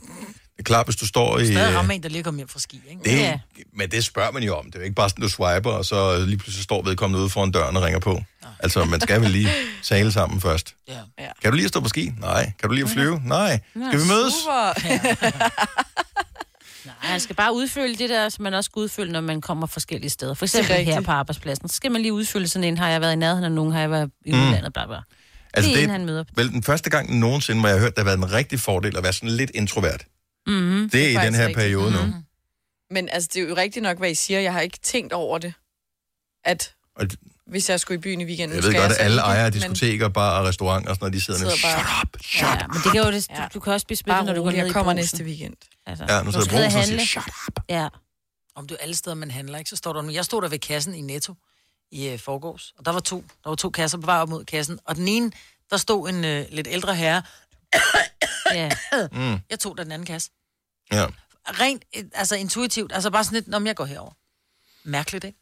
A: Det er klart, hvis du står i...
C: Stadig
A: øh,
C: ramme en, der lige kommer hjem fra ski, ikke?
A: Det, ja. Men det spørger man jo om. Det er jo ikke bare sådan, du swiper, og så lige pludselig står vedkommende ude foran døren og ringer på. Altså, man skal vel lige tale sammen først.
C: Ja.
B: Ja.
A: Kan du lige at stå på ski? Nej. Kan du lige at flyve? Nej. Skal vi mødes?
B: Super.
D: Nej, man skal bare udfylde det der, som man også skal udfylde, når man kommer forskellige steder. For
B: Det er
D: eksempel her
B: rigtigt.
D: på arbejdspladsen. Så skal man lige udfylde sådan en, har jeg været i nærheden af nogen, har jeg været i
A: Mm.
D: udlandet, bla bla. Altså, det er en, han møder.
A: vel den første gang nogensinde, hvor jeg har hørt, der har været en rigtig fordel at være sådan lidt introvert.
D: Mm-hmm.
A: Det er, i den
B: faktisk
A: her
B: rigtigt. Mm-hmm.
A: periode nu.
B: Men altså, det er jo rigtigt nok, hvad I siger. Jeg har ikke tænkt over det, at
A: Og det-
B: hvis jeg skulle i byen i weekenden...
A: Jeg
B: skal
A: ved godt, at
B: så
A: alle
B: ikke,
A: ejere af
B: men-
A: diskoteker, barer og restauranter og sådan noget, de sidder,
B: sidder
A: sidder
B: bare...
A: bare... Shut up!
D: Ja, men det kan jo det, du, du kan også blive smittet,
B: Bare
D: når du går
B: rolig,
D: ned
B: jeg
D: i
B: kommer
D: brugsen.
B: næste weekend.
D: Altså,
A: Ja, nu
D: når du
A: sidder
D: skal ned
A: Brugsen og siger,
D: handle.
A: shut
C: up.
D: Ja.
C: Om du alle steder, man handler, ikke? Så står der nu. Jeg stod der ved kassen i Netto i øh, forgårs, og der var to. Der var to kasser på vej op mod kassen, og den ene, Der stod en øh, lidt ældre herre. ja.
A: Mm.
C: Jeg tog da den anden kasse.
A: Ja.
C: Rent, øh, altså intuitivt, altså bare sådan lidt, om jeg går herover. Mærkeligt, ikke?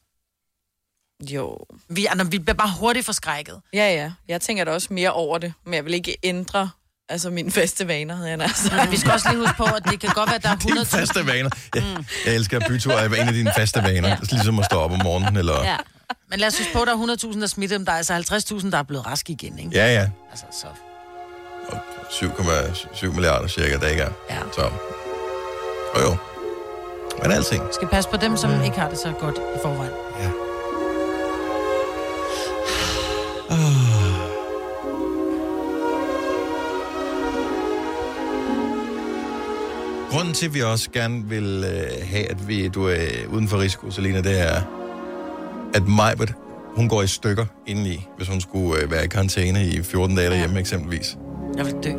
B: Jo.
C: Vi, altså, vi bliver bare hurtigt forskrækket.
B: Ja, ja. Jeg tænker da også mere over det, men jeg vil ikke ændre altså mine faste vaner, havde jeg nær sagt.
C: Men vi skal også lige huske på, at det kan godt være, at der er 100...
A: Dine faste vaner. Jeg, jeg elsker, at byture er en af dine faste vaner. Ja. Ligesom at stå op om morgenen, eller... Ja,
C: Ja. Men lad os huske på, at der er 100.000, der smitter, men der er altså 50.000, der er blevet raske igen, ikke?
A: ja. ja.
C: Altså, så...
A: 7,7 milliarder cirka, der ikke er.
C: Ja.
A: Så... Og jo. Men alting.
C: Vi skal passe på dem, som ikke har det så godt i forvejen.
A: Grunden til, at vi også gerne vil øh, have, at vi, du er uden for risiko, Selina, det er, at Majbert, hun går i stykker indeni, hvis hun skulle øh, være i karantæne i 14 dage derhjemme eksempelvis.
C: Jeg vil dø.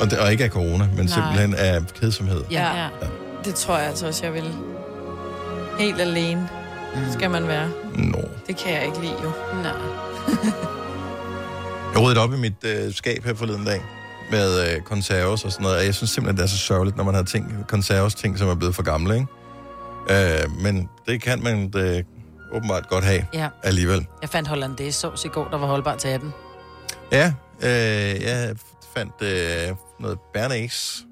A: Og, det, og ikke af corona, men Nej.
B: Nej.
A: simpelthen af kedsomhed.
B: Ja. ja. Det tror jeg altså også, jeg vil. Helt alene skal man være.
A: Nå.
B: Det kan jeg ikke lide, jo. Nej.
A: Jeg ryddede op i mit øh, skab her forleden dag med øh, konserves og sådan noget, og jeg synes simpelthen, det er så sørgeligt, når man har ting, konserves ting, som er blevet for gamle, ikke? Øh, men det kan man øh, åbenbart godt have
C: Ja.
A: alligevel.
C: Jeg fandt hollandaise sovs i går, der var holdbar til 18.
A: Ja, øh, jeg fandt øh, noget bernæs,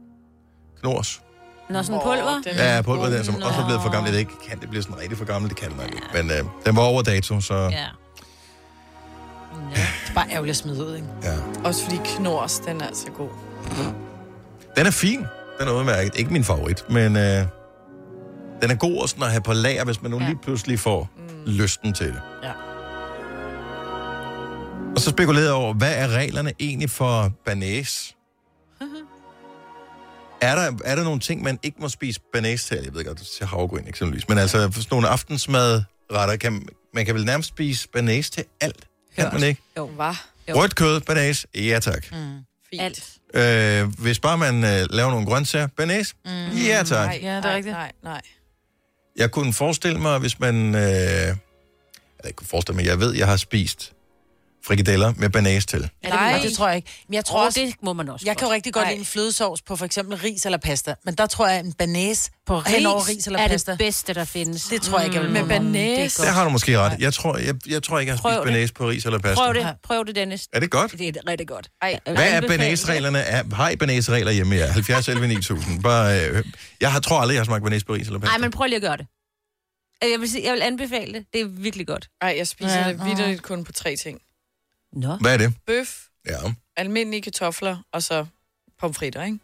A: knors.
D: Nå, sådan pulver?
A: Ja, pulver der, som også er blevet for gammel. Det ikke kan det bliver sådan rigtig for gammel, det kan det nok ikke. Men øh, den var over dato, så... Ja.
C: Ja. ja. Det er bare ærgerligt at smide ud, ikke?
A: Ja.
B: Også fordi knors, den er altså god.
A: Den er fin. Den er udmærket. Ikke min favorit, men øh, den er god også at have på lager, hvis man nu lige pludselig får mm. lysten til det.
C: Ja.
A: Og så spekulerede jeg over, hvad er reglerne egentlig for banæs? er, der, er der nogle ting, man ikke må spise banæs til? Jeg ved godt, det er havgryn eksempelvis. Men altså, for sådan nogle aftensmadretter, kan, man kan vel nærmest spise banæs til alt? Kan man ikke?
B: Jo, var.
A: Rødt kød, banæs, ja tak.
C: Mm.
B: Fint. Alt.
A: Øh, hvis bare man øh, laver nogle grøntsager, banæs, mm. ja tak.
B: Nej, ja, det er rigtigt. Nej, nej.
A: Jeg kunne forestille mig, hvis man... Øh, eller ikke kunne forestille mig, jeg ved, jeg har spist frikadeller med banæs til.
C: Nej, det, det tror jeg ikke. Men jeg tror
D: Åh,
C: også,
D: det må man også
C: Jeg kan jo
D: godt.
C: rigtig godt
D: Nej.
C: lide en flødesovs på for eksempel ris eller pasta, men der tror jeg en banæs på ris, hen over ris eller
D: er
C: pasta.
D: det bedste, der findes.
C: Det tror jeg ikke, jeg vil
D: Mm.
C: vågne om. Det er
A: Der har du måske ret. Jeg tror, jeg, jeg tror ikke, jeg har
D: Prøv
A: spist
D: det.
A: banæs på ris eller pasta.
D: Prøv det, prøv det, Dennis.
A: Er det godt?
D: Det er rigtig godt.
B: Ej,
A: Hvad er banæsreglerne? Er- Har I banæsregler hjemme i jer? 70 11 9000. Bare, øh, jeg har, tror aldrig, jeg har smagt banæs på ris eller pasta.
D: Nej, men prøv lige at gøre det. Øh, Jeg vil, sige, jeg vil anbefale det. Det er virkelig godt.
B: Nej, jeg spiser ja, det vidderligt kun på tre ting.
D: Nå.
A: Hvad er det?
B: Bøf,
A: Ja.
B: almindelige kartofler, og så pomfritter, ikke?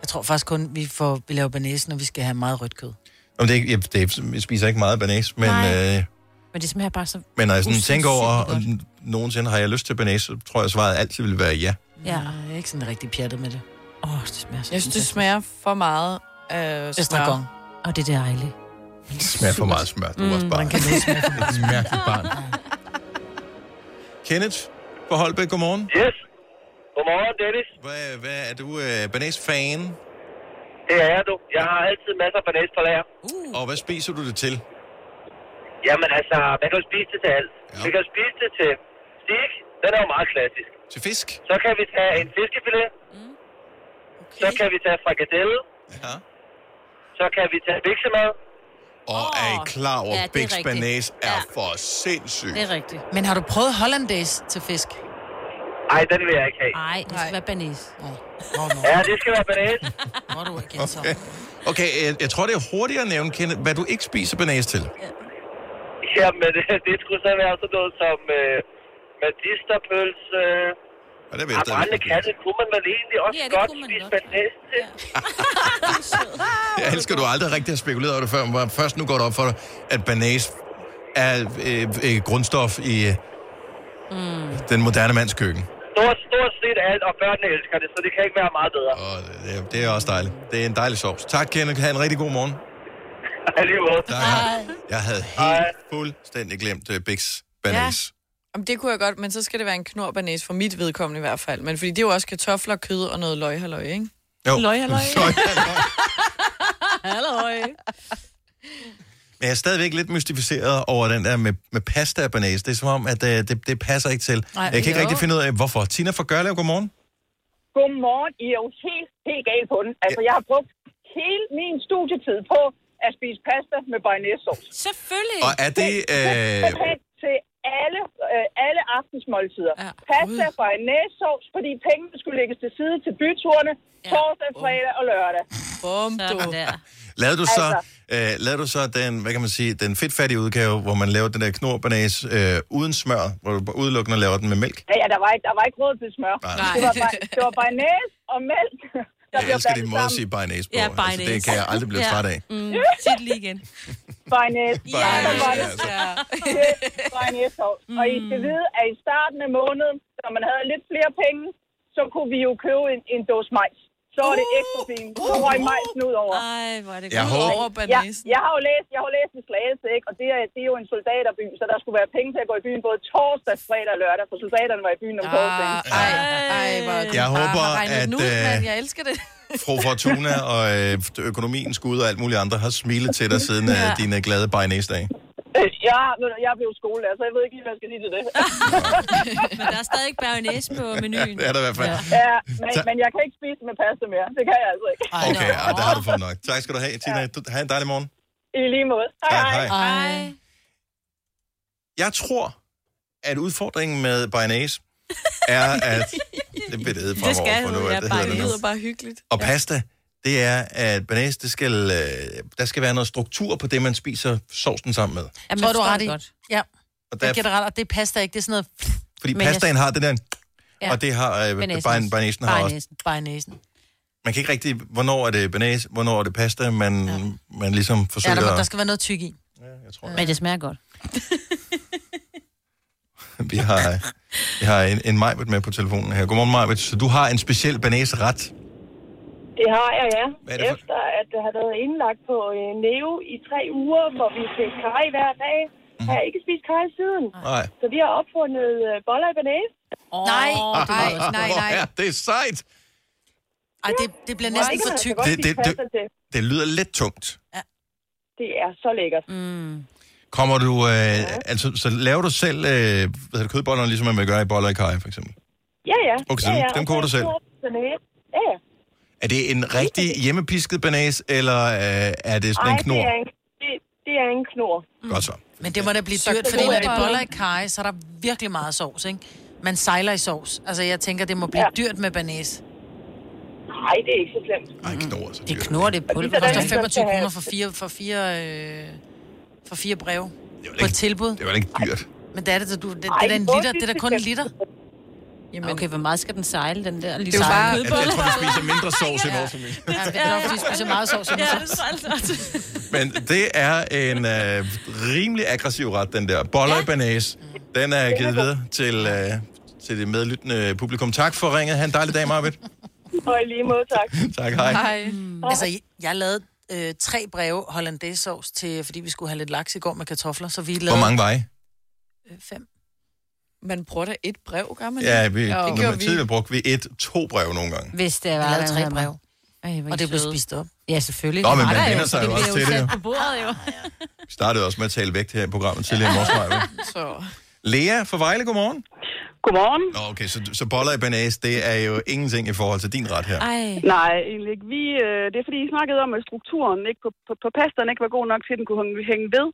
C: Jeg tror faktisk kun, vi, får, vi laver banæs, når vi skal have meget rødt kød.
A: Om det, er ikke- jeg, det, er- jeg spiser ikke meget banæs, men,
C: Nej.
A: øh,
D: Men det smager bare så...
A: men når jeg sådan
D: Usandsynligt
A: tænker over, om
D: godt.
A: nogensinde har jeg lyst til banæs, så tror jeg, svaret altid vil være ja.
D: Ja.
C: Jeg er ikke sådan rigtig pjattet med det. Åh, oh, det smager så
B: Jeg synes, det smager for meget af øh,
C: Estragon.
B: smør.
D: Og det er dejligt. Mm,
A: Det smager for meget smør. Du er også barn.
C: Mm, kan lide smør.
A: Et mærkeligt barn. Kenneth fra Holbæk, godmorgen.
L: Yes. Godmorgen, Dennis.
A: Hvad, hvad er du øh, banæs-fan?
L: Det er jeg, du. Jeg har altid masser af banæs på lager.
A: Uh. Og hvad spiser du det til?
L: Jamen altså, man kan jo spise det til alt. Ja. Vi kan jo spise det til stik. Den er jo meget klassisk.
A: Til fisk?
L: Så kan vi tage en fiskefilet. Mm. Okay. Så kan vi tage frikadelle.
A: Ja.
L: Så kan vi tage biksemad.
A: Og oh. er I klar over,
C: Ja, det
A: ja,
C: er
A: Bix
C: rigtigt.
A: banæs er for sindssygt?
D: Det er rigtigt.
C: Men har du prøvet hollandaise til fisk?
L: Ej, den vil jeg ikke have.
D: Nej, det skal være banæs.
L: Ja, det skal være banæs.
C: Hvor du ikke
A: Okay, okay jeg, jeg tror, det er hurtigere at nævne, Kenneth, hvad du ikke spiser banæs til.
L: Jamen, det, det skulle så være sådan noget som øh, medisterpølse. Øh,
A: og det
L: ved jeg brændende katte kunne man vel egentlig også ja, godt spise banæs til.
A: Jeg elsker, du aldrig rigtig har spekuleret over det før, men først nu går det op for dig, at banæs er øh, øh, grundstof i øh,
L: Mm.
A: den moderne mands køkken.
L: Stort, stort set alt, og børnene elsker det, så det kan ikke være meget bedre.
A: Og Det, er- det er også dejligt. Det er en dejlig sovs. Tak, Kenneth. Ha' en rigtig god morgen.
L: Alligevel.
A: Tak, hej. Jeg havde helt fuldstændig glemt uh, Bix banæs.
B: Jamen, det kunne jeg godt, men så skal det være en knorbanæs for mit vedkommende i hvert fald. Men fordi det er jo også kartofler, kød og noget løg, halløj, ikke?
A: Jo.
B: Løg, halløj.
A: Løg, halløj.
B: halløj.
A: Men Men jeg er stadigvæk lidt mystificeret over den der med, med pasta banase. Det er som om, at øh, det, det passer ikke til.
P: Nej,
A: Nej, jeg kan ikke
P: jo.
A: rigtig finde ud af, hvorfor. Tina fra Gørlev, godmorgen.
P: Godmorgen. I er jo helt, helt galt på den. Altså, jeg har brugt hele min studietid på at spise pasta med bearnaisesauce.
D: Selvfølgelig.
A: Og er det... Øh,
P: til alle, øh, alle aftensmåltider. Ja. Pasta, bearnaisesauce, fordi pengene skulle lægges til side til byturene ja. torsdag, fredag og lørdag.
B: Bum, du.
A: lavede, du så,
P: Altså.
A: øh, lavede du så den, hvad kan man sige, den fedtfattige udgave, hvor man laver den der knorbanase øh, uden smør, hvor du udelukkende laver den med mælk?
P: Ja, ja, der var ikke, der var ikke råd til smør.
A: Nej.
P: Det var, bare- det var bearnaise og mælk. Der
A: Jeg
P: blev
A: elsker din
P: blandet
A: måde at
P: sammen.
A: sige bearnaise på. Altså, det kan jeg aldrig blive træt af.
D: Mm, sig det lige igen.
P: Bearnaise. Ja, der var det.
A: altså.
P: Bearnaise mm. Og I skal vide, at i starten af måneden, når man havde lidt flere penge, så kunne vi jo købe en, en dåse majs. Så var
J: Uh!
P: det ekstra fint. Så røg majsen ud over.
D: Ej, hvor er det
A: Jeg godt. håber- Ud over
P: jeg, jeg, har jo læst, jeg har jo læst i Slagelse, ikke? og det er, det er jo en soldaterby, så der skulle være penge til at gå i byen både torsdag, fredag og lørdag, for soldaterne var i byen om torsdagen.
B: Ej, ej, hvor
A: Jeg håber,
B: har regnet den
A: at,
B: Ud,
A: øh,
B: mand. Jeg elsker det.
A: Fru Fortuna og øh, økonomien skud og alt muligt andre har smilet til dig siden ja.
P: Ja.
A: øh, dine glade bearnaise-dage.
P: Øh, Jeg, ved du, jeg blev skolelærer, så jeg ved ikke lige, hvad jeg skal sige til det.
D: Men der er stadig ikke bærnæs på menuen.
A: Det er der i hvert fald.
P: Ja, men,
A: Tak.
P: men jeg kan ikke spise med pasta mere. Det kan jeg altså ikke.
A: Okay, ja, der har du fået nok. Tak skal du have, Tina. Du- Ha' en dejlig morgen.
P: I lige måde.
A: Tak, hej. Jeg tror, at udfordringen med bearnaise er, at... Det bliver det hedde
B: Det
A: fremover,
B: skal
A: for
B: du,
A: nu,
B: ja,
A: at det
B: bare,
A: hedder
B: det
A: det
B: lyder
A: nu.
B: bare hyggeligt.
A: Og pasta, det er, at bearnaise, det skal, øh, der skal være noget struktur på det, man spiser sovsen sammen med.
C: Jamen, tror du
D: forstår
C: ret
D: det
C: i?
D: godt.
C: Ja.
A: Og
C: Det er
A: der,
C: generelt, og det passer ikke. Det er sådan noget...
A: fordi
C: Men jeg-
A: pastaen har det der... Og det har... Øh, bearnaisen bearnaisen har også
C: Bare næsen.
A: Man kan ikke rigtig, hvornår er det banase, hvornår er det pasta, man, ja. man ligesom
C: Ja,
A: forsøger...
C: der, må- der skal være noget tyk i. Ja,
A: jeg tror
C: Men det smager godt.
A: Vi har, øh, vi har en, en Majbet med på telefonen her. Godmorgen, Majbet. Så du har en speciel banaseret.
Q: Det har jeg, ja.
A: Hvad er det for-
Q: Efter at jeg har været indlagt på øh, Neo i tre uger, hvor vi fik kaj hver dag, mm. har jeg ikke spist kaj siden.
A: Mhm. Nej.
Q: Så vi har opfundet øh, boller i banase.
C: Oh, nej, nej, nej, nej.
A: Ja, det er sejt.
C: Ej, det, det bliver næsten for tykt.
A: Det, det, det, det lyder lidt tungt.
Q: Det er så lækkert. Mm.
A: Kommer du, øh, ja. altså, så laver du selv øh, hvad hedder det, kødbollerne, ligesom man vil gøre i boller i kaj, for eksempel?
Q: Ja, ja.
A: Okay, så
Q: ja,
A: dem-
Q: ja.
A: dem koger du selv?
Q: Banase. Ja, ja.
A: Er det en rigtig hjemmepisket banase, eller øh, er det sådan
Q: Ej,
A: en knor?
Q: Det er en, det, det er en knor.
A: Godt så.
C: Men det må da blive
Q: Så
C: dyrt,
Q: det
C: fordi når
Q: er
C: det
Q: bare-
C: boller i kaj, så er der virkelig meget sovs, ikke? Man sejler i sovs. Altså, jeg tænker, det må blive dyrt med banæs.
Q: Nej, det er ikke så slemt.
A: Nej, knor så
C: Det knor, det er pulver.
Q: der
C: Det koster
Q: ikke, der
C: 25
Q: skal have-
C: kroner for fire, for fire, øh, for fire breve. På et tilbud.
A: Det var ikke dyrt.
C: Men det er det, så du, det, det
D: Ej,
C: er da en
D: hvor
C: liter,
D: synes
C: det er da
D: du,
C: kun en liter.
D: Jamen. Okay, hvor meget skal den sejle, den der?
C: jo bare-
A: Jeg, jeg tror, vi spiser mindre sovs i vores familie.
C: Ja, det er nok, fordi vi spiser meget sovs.
D: Ja,
C: Ja,
D: det er sejlt.
A: Men det er en øh, rimelig aggressiv ret, den der. Boller ja. i banase. Den er givet videre til, øh, til det medlyttende publikum. Tak for ringet. Ha' en dejlig dag, Marvitt.
Q: Og i lige måde, tak.
A: tak, hej.
C: Mm. Altså, jeg- jeg lavede øh, tre breve hollandaisesauce til, fordi vi skulle have lidt laks i går med kartofler, så vi lavede...
A: Hvor mange var I?
C: Øh, Fem.
B: Man bruger da et brev, gør man
A: Ja,
B: ikke?
A: vi,
B: Jo.
A: det gjorde vi. tidligere brugte vi et, to brev nogle gange.
D: Hvis det var...
C: Jeg lavede
D: der
C: tre
D: havde-
C: brev.
D: Ej, hvor
C: Og
D: I
C: det blev
D: søde.
C: spist op.
D: Ja, selvfølgelig.
A: Nå,
D: Det
A: men
D: var
A: man
D: der
A: vender sig jo
D: Det
A: også
D: blev
A: til det,
D: sat
A: jo.
D: på bordet, jo.
A: Vi startede også med at tale vægt her i programmet tidligere i morges. Maja.
B: Så.
A: Lea fra Vejle, godmorgen.
Q: Godmorgen.
A: Nå, okay, så, så boller i banase, det er jo ingenting i forhold til din ret her.
Q: Nej, egentlig ikke. Vi, øh, det er fordi, I snakkede om, at strukturen ikke på, på, på pastaen ikke var god nok til, at den kunne hænge- hænge ved.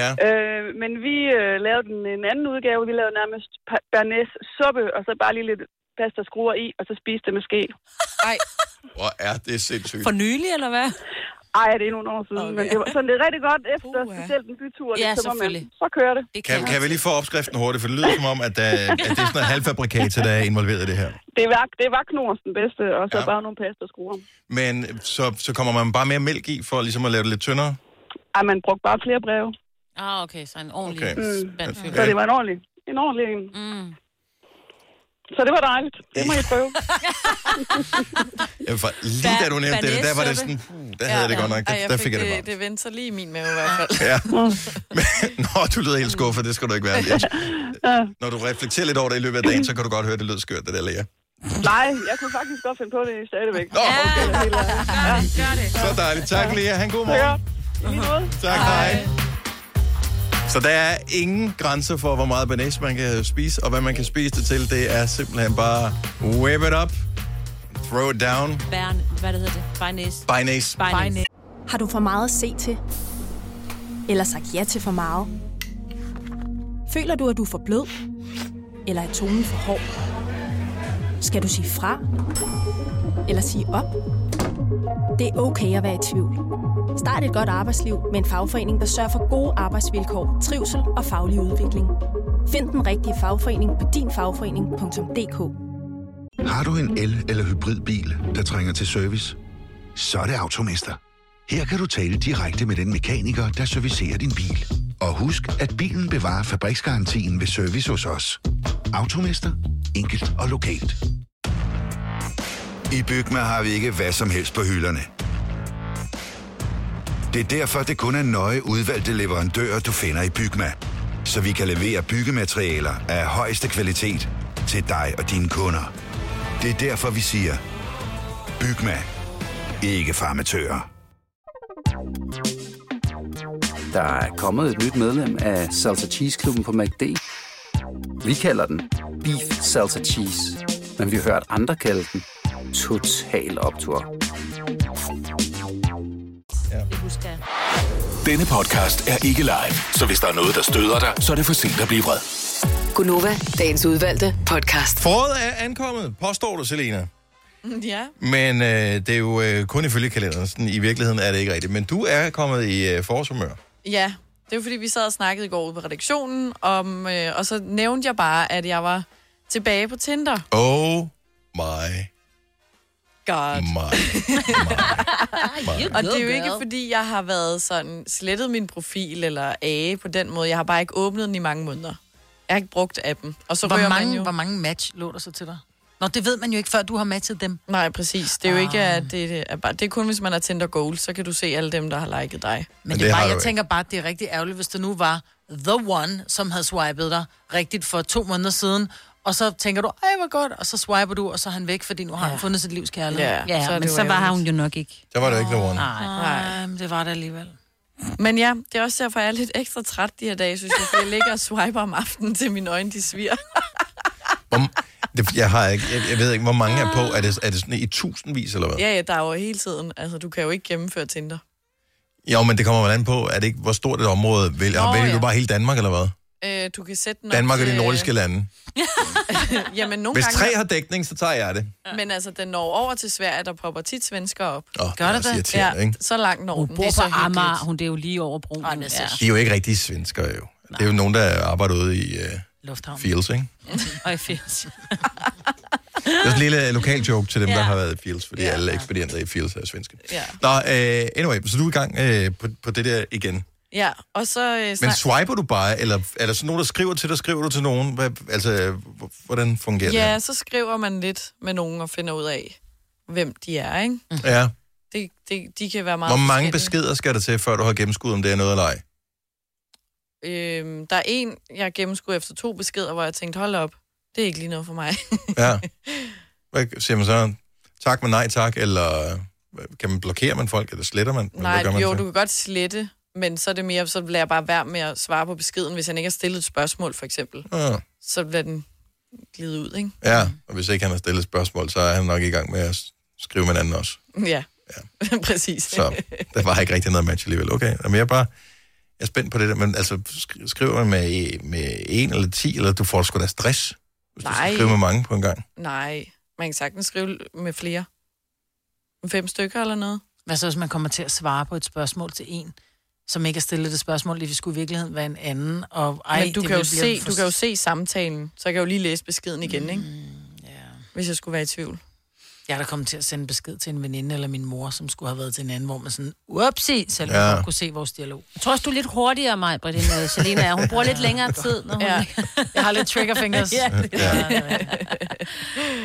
A: Ja.
Q: Øh, men vi øh, lavede en, en anden udgave. Vi lavede nærmest bernæs suppe, og så bare lige lidt pasta skruer i, og så spiste det med ske.
B: Ej.
A: Hvor er det sindssygt.
D: For nylig, eller hvad?
Q: Ej, det er nogle år siden, okay. men det var sådan, det er rigtig godt efter, uh, specielt en bytur. så,
D: Ja,
Q: må man,
D: selvfølgelig.
Q: så kører det.
A: Kan, kan vi lige få opskriften hurtigt, for det lyder som om, at, der, at det er sådan noget halvfabrikat, der er involveret i det her.
Q: Det var, det var Knors den bedste, og så
A: Ja.
Q: ja. bare nogle pasta skruer.
A: Men så, så kommer man bare mere mælk i, for ligesom at lave det lidt tyndere?
Q: Ej, man brugte bare flere breve.
D: Ah, okay, så en ordentlig
A: Okay.
D: okay.
A: Mm.
D: spand
A: Ja.
Q: Så det var en ordentlig, en ordentlig en.
D: Mm.
Q: Så det var dejligt. Det må I prøve.
A: Ja, for lige da du nævnte det, der var det sådan, puh, der havde jeg det godt nok,
B: Ej,
A: der, der fik jeg det
B: det,
A: bare.
B: det vendte sig lige i min mave i hvert fald.
A: Ja. Men, nå, du lyder helt skuffet, det skal du ikke være. Jeg- Når du reflekterer lidt over det i løbet af dagen, så kan du godt høre, det lød skørt, det der, Lea.
Q: Nej, jeg kunne faktisk godt finde på det stadigvæk.
A: Nå,
Q: okay.
A: Så dejligt. Tak, Lea. Han god morgen.
Q: I lige måde.
A: Tak, hej. Så der er ingen grænser for, hvor meget banæs man kan spise, og hvad man kan spise det til. Det er simpelthen bare whip it up, throw it down,
D: Bern, hvad det hedder det? Bynæs.
A: binæs.
D: Bynæs.
M: Har du for meget at se til? Eller sagt ja til for meget? Føler du, at du er for blød? Eller er tonen for hård? Skal du sige fra? Eller sige op? Det er okay at være i tvivl. Start et godt arbejdsliv med en fagforening, der sørger for gode arbejdsvilkår, trivsel og faglig udvikling. Find den rigtige fagforening på dinfagforening.dk
N: Har du en el- eller hybridbil, der trænger til service? Så er det Automester. Her kan du tale direkte med den mekaniker, der servicerer din bil. Og husk, at bilen bevarer fabriksgarantien ved service hos os. Automester. Enkelt og lokalt.
O: I Bygma har vi ikke hvad som helst på hylderne. Det er derfor, det kun er nøje udvalgte leverandører, du finder i Bygma. Så vi kan levere byggematerialer af højeste kvalitet til dig og dine kunder. Det er derfor, vi siger, Bygma. Ikke farmatører.
K: Der er kommet et nyt medlem af Salsa Cheese Klubben på MACD. Vi kalder den Beef Salsa Cheese, men vi har hørt andre kalde den Total Optor.
D: Det husker jeg.
F: Denne podcast er ikke live, så hvis der er noget, der støder dig, så er det for sent at blive vred.
E: Gunova, dagens udvalgte podcast.
A: Foråret er ankommet, påstår du, Selena.
B: Ja.
A: Men øh, det er jo øh, kun ifølge kalenderen. Sådan, I virkeligheden er det ikke rigtigt. Men du er kommet i øh, forårshumør.
B: Ja, det var fordi, vi sad og snakkede i går ude på redaktionen, om, øh, og så nævnte jeg bare, at jeg var tilbage på Tinder.
A: Oh my
B: God.
A: my.
B: Og det er jo ikke, fordi jeg har været sådan slettet min profil eller age på den måde. Jeg har bare ikke åbnet den i mange måneder. Jeg har ikke brugt appen. Og så
C: hvor,
B: ryger man
C: mange,
B: jo...
C: hvor mange match lå der så til dig? Nå, det ved man jo ikke, før du har matchet dem. Ah.
B: Nej, præcis. Det er jo ikke, at det er, bare, det er kun, hvis man har Tinder Gold, så kan du se alle dem, der har liket dig.
C: Men det, er bare, jeg tænker bare, at det er rigtig ærgerligt, hvis det nu var the one, som havde swipet dig rigtigt for to måneder siden, og så tænker du, ej, hvor godt, og så swiper du, og så er han væk, fordi nu har ja. han fundet sit livs kærlighed.
B: Ja, så er det jo
D: ærgerligt.
C: jo nok ikke.
A: Der var det ikke the one.
C: Nej, nej, men det var det alligevel.
B: Men ja, det er også derfor, jeg er lidt ekstra træt de her dage, synes jeg, fordi jeg ligger og swiper om aftenen til mine øjne, de sviger.
A: Det, jeg, har ikke, jeg, jeg ved ikke, hvor mange er på. Er det, er det sådan i tusindvis, eller hvad?
B: Ja, ja, der er jo hele tiden. Altså, du kan jo ikke gennemføre Tinder.
A: Jo, men det kommer man an på. Er det ikke, hvor stort et område vælger?
B: Nå,
A: Oh, vælger
B: ja.
A: du bare hele Danmark, eller hvad?
B: Øh, du kan sætte den op
A: Danmark og de
B: til- øh,
A: nordiske lande.
B: Jamen, nogle
A: Hvis
B: gange...
A: tre har dækning, så tager jeg det.
B: Men altså, den når over til Sverige, der popper tit svensker op.
A: Åh, det er også irriterende, ikke?
B: så langt når
D: Hun
B: den.
D: bor
B: Det er
D: på
B: så hyggeligt.
D: Amager, hun det er jo lige over broen. Ej, ja.
A: De er jo ikke rigtige svensker, jo. Det er jo nogen, der arbejder ude i uh,
C: Lufthavn.
A: Fields, ikke?
D: Og i Fields.
A: Det er sådan en lille øh, lokal joke til dem, ja.
D: Ja.
A: der har været i Fields, fordi ja. alle ekspedienter i Fields er svenske.
B: Ja.
A: Nå, uh, anyway, så du er i gang uh, på, på det der igen.
B: Ja, og så... Øh,
A: Men
B: snak-
A: swiper du bare, eller er der sådan nogen, der skriver til dig, skriver du til nogen? Hvad, altså, øh, h- hvordan fungerer
B: Ja,
A: det?
B: så skriver man lidt med nogen og finder ud af, hvem de er, ikke?
A: Ja.
B: Det, det, de kan være meget
A: Hvor
B: forskellige.
A: mange beskeder skal der til, før du har gennemskud, om det er noget eller ej?
B: Øhm, der er en, jeg gennemskuede efter to beskeder, hvor jeg tænkte, hold op, det er ikke lige noget for mig.
A: Ja. Hvad siger man så? Tak, men nej tak, eller øh, kan man blokere man folk, eller sletter man? Eller
B: Nej,
A: hvad gør man
B: jo,
A: så?
B: du kan godt slette, men så er det mere, så lader jeg bare være med at svare på beskeden, hvis han ikke har stillet et spørgsmål, for eksempel.
A: Ah.
B: Så lader den glide ud, ikke?
A: Ja, og hvis ikke han har stillet et spørgsmål, så er han nok i gang med at s- skrive med en anden også.
B: Ja, ja. præcis.
A: Så der var ikke rigtig noget match alligevel. Okay, men jeg er bare jeg er spændt på det der. Men altså, sk- skriver man med, med en eller ti, eller du får sgu da stress, hvis du
B: Nej.
A: skal skrive med mange på en gang.
B: Nej, man kan sagtens skrive med flere. Fem stykker eller noget.
C: Hvad så, hvis man kommer til at svare på et spørgsmål til en, som ikke er stillet det spørgsmål, lige vi skulle i virkeligheden være en anden, og ej,
B: Ej, Men du
C: det
B: kan, jo
C: vil blive
B: se,
C: for-
B: du kan jo se samtalen, så jeg kan jo lige læse beskeden igen, ikke? Hvis jeg skulle være i tvivl.
C: Mm, Jeg er da kommet til at sende besked til en veninde eller min mor, som skulle have været til en anden, hvor man sådan, upsi, selvom
D: Ja.
C: ja. kunne se vores dialog.
D: Jeg tror også, du er lidt hurtigere, mig, Britt, end øh, Selena er. Hun bruger lidt længere tid, når hun...
C: Ja. Jeg har lidt trigger fingers.
D: ja, det
A: Ja.
D: er.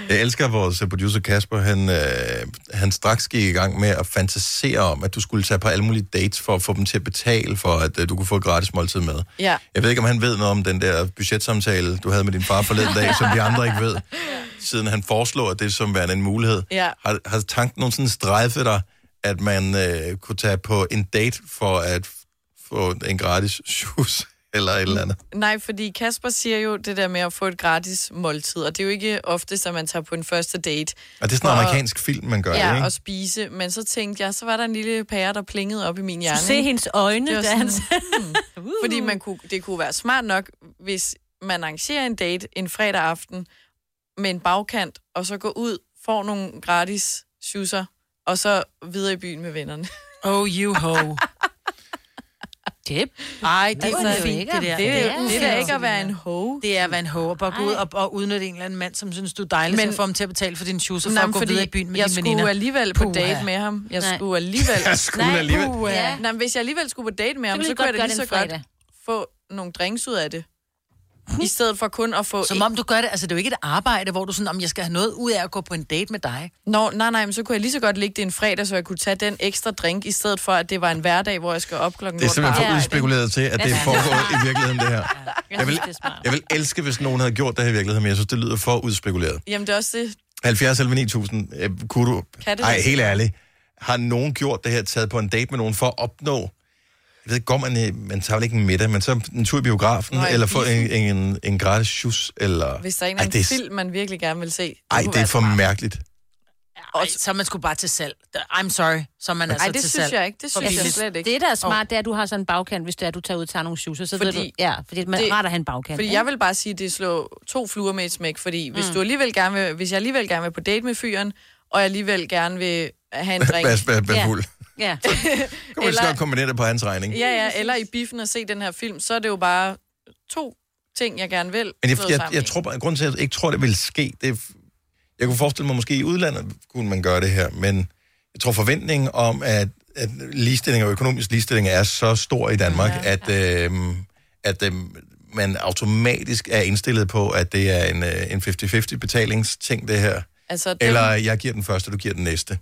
A: Jeg elsker at vores øh, producer Kasper, han, øh, han straks gik i gang med at fantasere om, at du skulle tage på alle mulige dates for at få dem til at betale for, at øh, du kunne få et gratis måltid med.
B: Ja.
A: Jeg ved ikke, om han ved noget om den der budgetsamtale, du havde med din far forleden dag, som vi andre ikke ved, siden han foreslår det som værende en mulighed.
B: Ja.
A: Har, har tanken nogensinde strejfet dig, at man øh, kunne tage på en date for at få en gratis shoes eller et eller andet.
B: Nej, fordi Kasper siger jo det der med at få et gratis måltid, og det er jo ikke ofte, at man tager på en første date.
A: Og det er sådan en
B: Og-
A: amerikansk film, man gør
B: ja,
A: det,
B: og
A: ikke?
B: spise. Men så tænkte jeg, så var der en lille pære, der plingede op i min hjerne.
D: se
B: ikke?
D: hendes øjne,
B: Det var
D: da han
B: hmm. Fordi man kunne, det kunne være smart nok, hvis man arrangerer en date en fredag aften med en bagkant, og så går ud, får nogle gratis schusser, og så videre i byen med vennerne.
C: Oh, you ho.
D: Tip.
C: Ej, det
B: Altså,
C: er altså, fint, det der.
B: det- det er da ikke at være en
C: ho. Det er at være en ho, og bare gå ud og, og udnytte en eller anden mand, som synes, du er dejlig, men,
B: Men-
C: så får ham til at betale for din shoes, og for
B: Nej,
C: at
B: men
C: gå
B: fordi
C: videre i byen med
B: jeg
C: dine
B: skulle
C: veninder.
B: alligevel på date
C: Puha.
B: med ham. Jeg
C: Nej.
B: skulle alligevel...
C: Jeg skulle
B: Nej,
C: alligevel.
B: puha.
C: Ja.
B: Nej, men hvis jeg alligevel skulle på date med ham,
D: vi
B: så
D: godt
B: kunne jeg da
D: gøre
B: lige så
D: det en
B: godt
D: fredag.
B: få nogle drinks ud af det. I stedet for kun at få...
C: Som om du gør det, altså det er jo ikke et arbejde, hvor du sådan, om jeg skal have noget ud af at gå på en date med dig.
B: Nå, nej, nej, men så kunne jeg lige så godt ligge det en fredag, så jeg kunne tage den ekstra drink, i stedet for, at det var en hverdag, hvor jeg skal op klokken
A: Det er
B: lort på
A: simpelthen for
B: arbejde.
A: udspekuleret til, at det
B: Ja.
A: foregår i virkeligheden, det her. Jeg vil,
B: det er smart.
A: jeg vil elske, hvis nogen havde gjort det her i virkeligheden, men jeg synes, det lyder for udspekuleret.
B: Jamen, det er også det.
A: 70 eller 9000, øh, kunne du...
B: Kan det
A: Ej,
B: lade sig
A: helt
B: gøre?
A: ærligt. Har nogen gjort det her, taget på en date med nogen for at opnå... Jeg ved, går man, øh, man tager vel ikke en middag, men så en tur i biografen,
B: Nå,
A: Nå,
B: ja,
A: eller få en,
B: biffen.
A: en, en gratis shoes, eller...
B: Hvis der er en
A: Ej,
B: eller
A: det
B: anden film, man virkelig gerne vil se. det
A: Ej,
B: kunne
A: det er
B: være
A: for
B: smart.
A: mærkeligt.
C: Og så er man skulle bare til salg. I'm sorry, så er man
D: Ej,
C: altså
D: det
C: til
D: synes
C: salg.
D: jeg ikke. Det
C: For
D: synes jeg
C: billigt.
D: slet ikke. Det, der er smart, det er, at du har sådan en bagkant, hvis det er, at du tager ud og tager nogle shoes, så fordi, ved du,
B: Fordi-
D: ja, fordi man det,
B: det-
D: retter han bagkant.
B: Fordi
D: ikke?
B: jeg vil bare sige, at det slår to fluer med et smæk, fordi hvis,
D: Mm.
B: du alligevel gerne vil, hvis jeg alligevel gerne vil på date med fyren, og jeg alligevel gerne vil have en drink...
A: Bas, bas, bas,
B: ja.
A: fuld.
D: Ja.
A: Kunne man så godt kombinere det på hans regning?
B: ja, ja, eller i biffen og se den her film, så er det jo bare to ting, jeg gerne vil.
A: Men jeg,
B: slået
A: jeg, jeg,
B: sammen i.
A: jeg tror bare, grunden til, at jeg ikke tror, det ville ske, det er, f- jeg kunne forestille mig, måske i udlandet kunne man gøre det her, men jeg tror forventningen om, at, at ligestilling og økonomisk ligestilling er så stor i Danmark, ja. at, øh, at øh, man automatisk er indstillet på, at det er en, øh, en 50-50 betalingsting, det her.
B: Altså, den,
A: Eller jeg giver den første, og du giver den næste.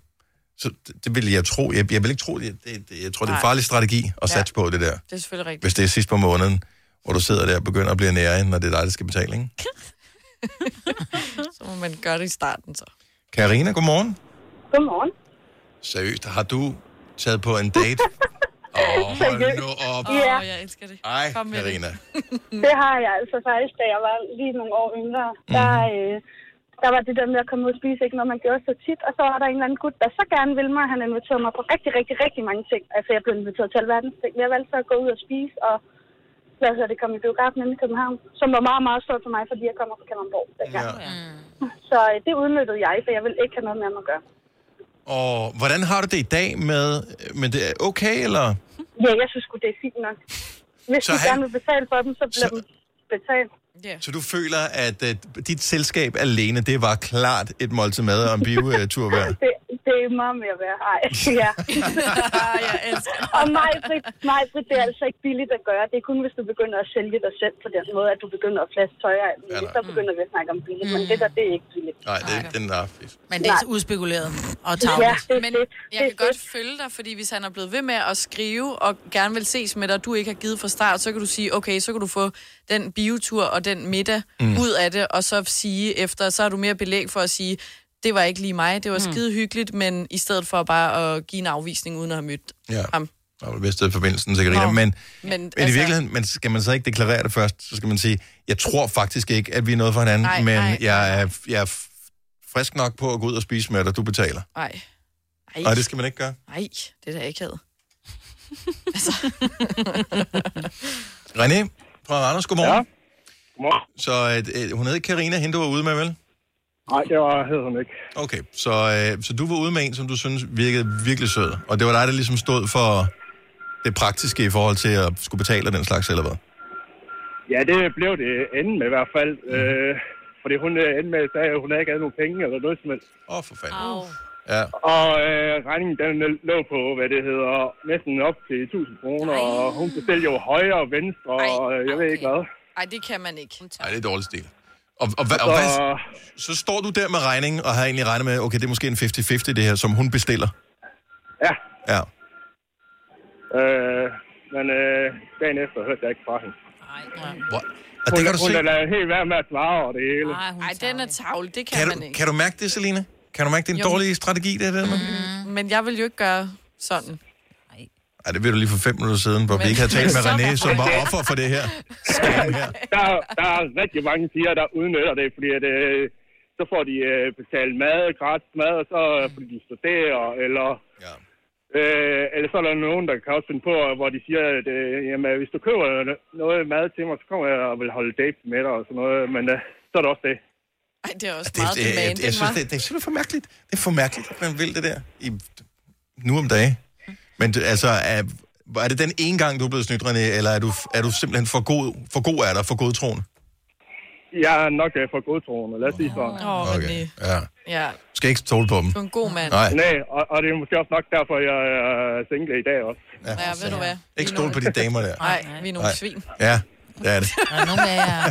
A: Så det, det vil jeg tro. Jeg, jeg vil ikke tro, det, det, det, jeg tror, det er en
B: Nej.
A: farlig strategi at satse på det der.
B: Det er selvfølgelig rigtigt.
A: Hvis det er sidst på måneden, hvor du sidder der og begynder at blive nære, når det er dig, der skal betale, ikke?
B: Så må man gøre det i starten, så.
A: Karina, godmorgen.
H: Godmorgen.
A: Seriøst, har du taget på en date? Åh, hold nu op.
H: Ja,
B: jeg elsker det.
A: Ej, Karina.
H: det har jeg altså faktisk, da jeg var lige nogle år yngre. Der,
A: Mhm.
H: øh, der var det der med at komme ud og spise, ikke noget man gjorde så tit. Og så var der en eller anden gut, der så gerne ville mig. Han inviterede mig på rigtig, rigtig, rigtig mange ting. Altså, jeg blev inviteret til alverdens ting. Jeg valgte så at gå ud og spise, og hvad hedder det, kom i biografen inde i København. Som var meget, meget stort for mig, fordi jeg kommer fra Kalundborg dengang. Ja.
B: Mm.
H: Så øh, det udnyttede jeg, for jeg ville ikke have noget med ham at gøre.
A: Og hvordan har du det i dag med, men det er okay, eller?
H: Ja, jeg synes sgu, det er fint nok. Hvis
A: Så
H: de
A: han-
H: gerne vil betale for dem, så bliver
A: så-
H: dem betalt.
A: Så du føler, at, at dit selskab alene, det var klart et måltid mad og en biotur værd?
H: Det, det er meget mere værd. Ej, ja.
B: jeg elsker
H: Og mig, Britt, det er altså ikke billigt at gøre. Det er kun, hvis du begynder at sælge dig selv på den måde, at du begynder at flaske tøj og alt muligt. Så begynder vi at snakke om billigt,
B: Mm.
H: men det der, det er ikke billigt.
A: Nej, det er ikke den, der er fisk.
C: Men det er
H: Nej.
C: så udspekuleret og
H: Ja,
C: tavligt.
H: det er
B: Men
H: fedt.
B: jeg kan godt følge dig, fordi hvis han er blevet ved med at skrive og gerne vil ses med dig, og du ikke har givet fra start, så kan du sige, okay, så kan du få den biotur og den middag
R: Mm.
B: mm. ud af det, og så sige efter, så har du mere belæg for at sige, det var ikke lige mig, det var
A: Mm.
B: mm. skide hyggeligt, men i stedet for bare at give en afvisning uden at have mødt
A: Ja.
B: ham.
A: Og det bedste forbindelsen til Karina. Men,
B: Men, altså,
A: men i virkeligheden, men skal man så ikke deklarere det først? Så skal man sige, jeg tror faktisk ikke, at vi er noget for hinanden,
B: Nej,
A: men
B: nej.
A: jeg er, jeg er frisk nok på at gå ud og spise med dig, du betaler.
B: Nej.
A: Nej, det skal man ikke gøre.
B: Nej, det er da Altså. ikke havde.
A: René fra Anders, godmorgen. Ja. godmorgen. Så øh, hun hed ikke Karina, hende du var ude med, vel?
S: Nej, det var, hed hun ikke.
A: Okay, så, øh, så du var ude med en, som du synes virkede virkelig sød, og det var dig, der ligesom stod for det praktiske i forhold til at skulle betale og den slags, eller hvad?
S: Ja, det blev det enden med i hvert fald. Mm. Øh, fordi hun øh, endte med at sige, at hun havde ikke havde nogen penge eller noget som helst.
A: Åh, oh, for fanden.
S: Oh.
A: Ja.
S: Og øh, regningen den lå på, hvad det hedder, næsten op til 1000 kroner. Og hun bestilte jo højre og venstre, og øh, jeg ved ikke hvad.
B: Nej, det kan man ikke.
A: Nej, det er dårlig stil. Og, og, og, og hvad,
S: Så-
A: så står du der med regningen, og har egentlig regnet med, okay, det er måske en 50-50 det her, som hun bestiller.
S: Ja.
A: Ja.
S: Øh, men øh, dagen efter hørte jeg ikke fra hende.
A: Hvor, og
S: Hun,
A: det kan du
S: hun
A: se.
S: er da helt værd med at svare over det hele.
B: Nej, den er tavl, det kan,
A: Kan
B: man
A: du,
B: ikke.
A: kan du mærke det, Selina? Kan du mærke, det er en
B: Jo.
A: dårlig strategi, det der? Mm.
B: Mm. Men jeg vil jo ikke gøre sådan.
A: Ej, det ved du lige for fem minutter siden, hvor vi
S: Men-
A: ikke havde talt med
S: Så-
A: René, som var offer for det her.
S: der, er- der er rigtig mange piger, der udnytter det, fordi at, øh, så får de øh, betalt mad, gratis mad, og så øh, fordi de studerer, eller...
A: Mm. Ja.
S: Øh, eller så er der nogen, der kan også finde på, hvor de siger, at øh, jamen, hvis du køber noget mad til mig, så kommer jeg og vil holde date med dig og sådan noget, men øh, så er det også det.
B: Ej, det er også
A: Det,
B: meget
A: det, jeg,
B: demanding,
A: jeg synes,
B: hva'?
A: det, det er simpelthen for mærkeligt. Det er for mærkeligt, at man vil det der i, nu om dagen. Men du- altså, er, er det den ene gang, du er blevet snydt, René, eller er du, er du simpelthen for god, for god er dig, for god troen?
S: Jeg er nok øh, for godtroende, lad os sige sådan.
B: Åh, oh, okay.
A: Ja.
B: Ja,
A: Du skal ikke stole på dem.
B: du er en god mand.
A: Nej.
S: Nej, og, og det er måske også nok derfor, jeg er single i dag også.
A: Ja,
B: Ja, ved du hvad?
A: Ikke stole på de damer der.
B: Nej, vi er nogle
A: Nej.
B: svin.
A: Ja, det er det.
C: Der er nogen af jer.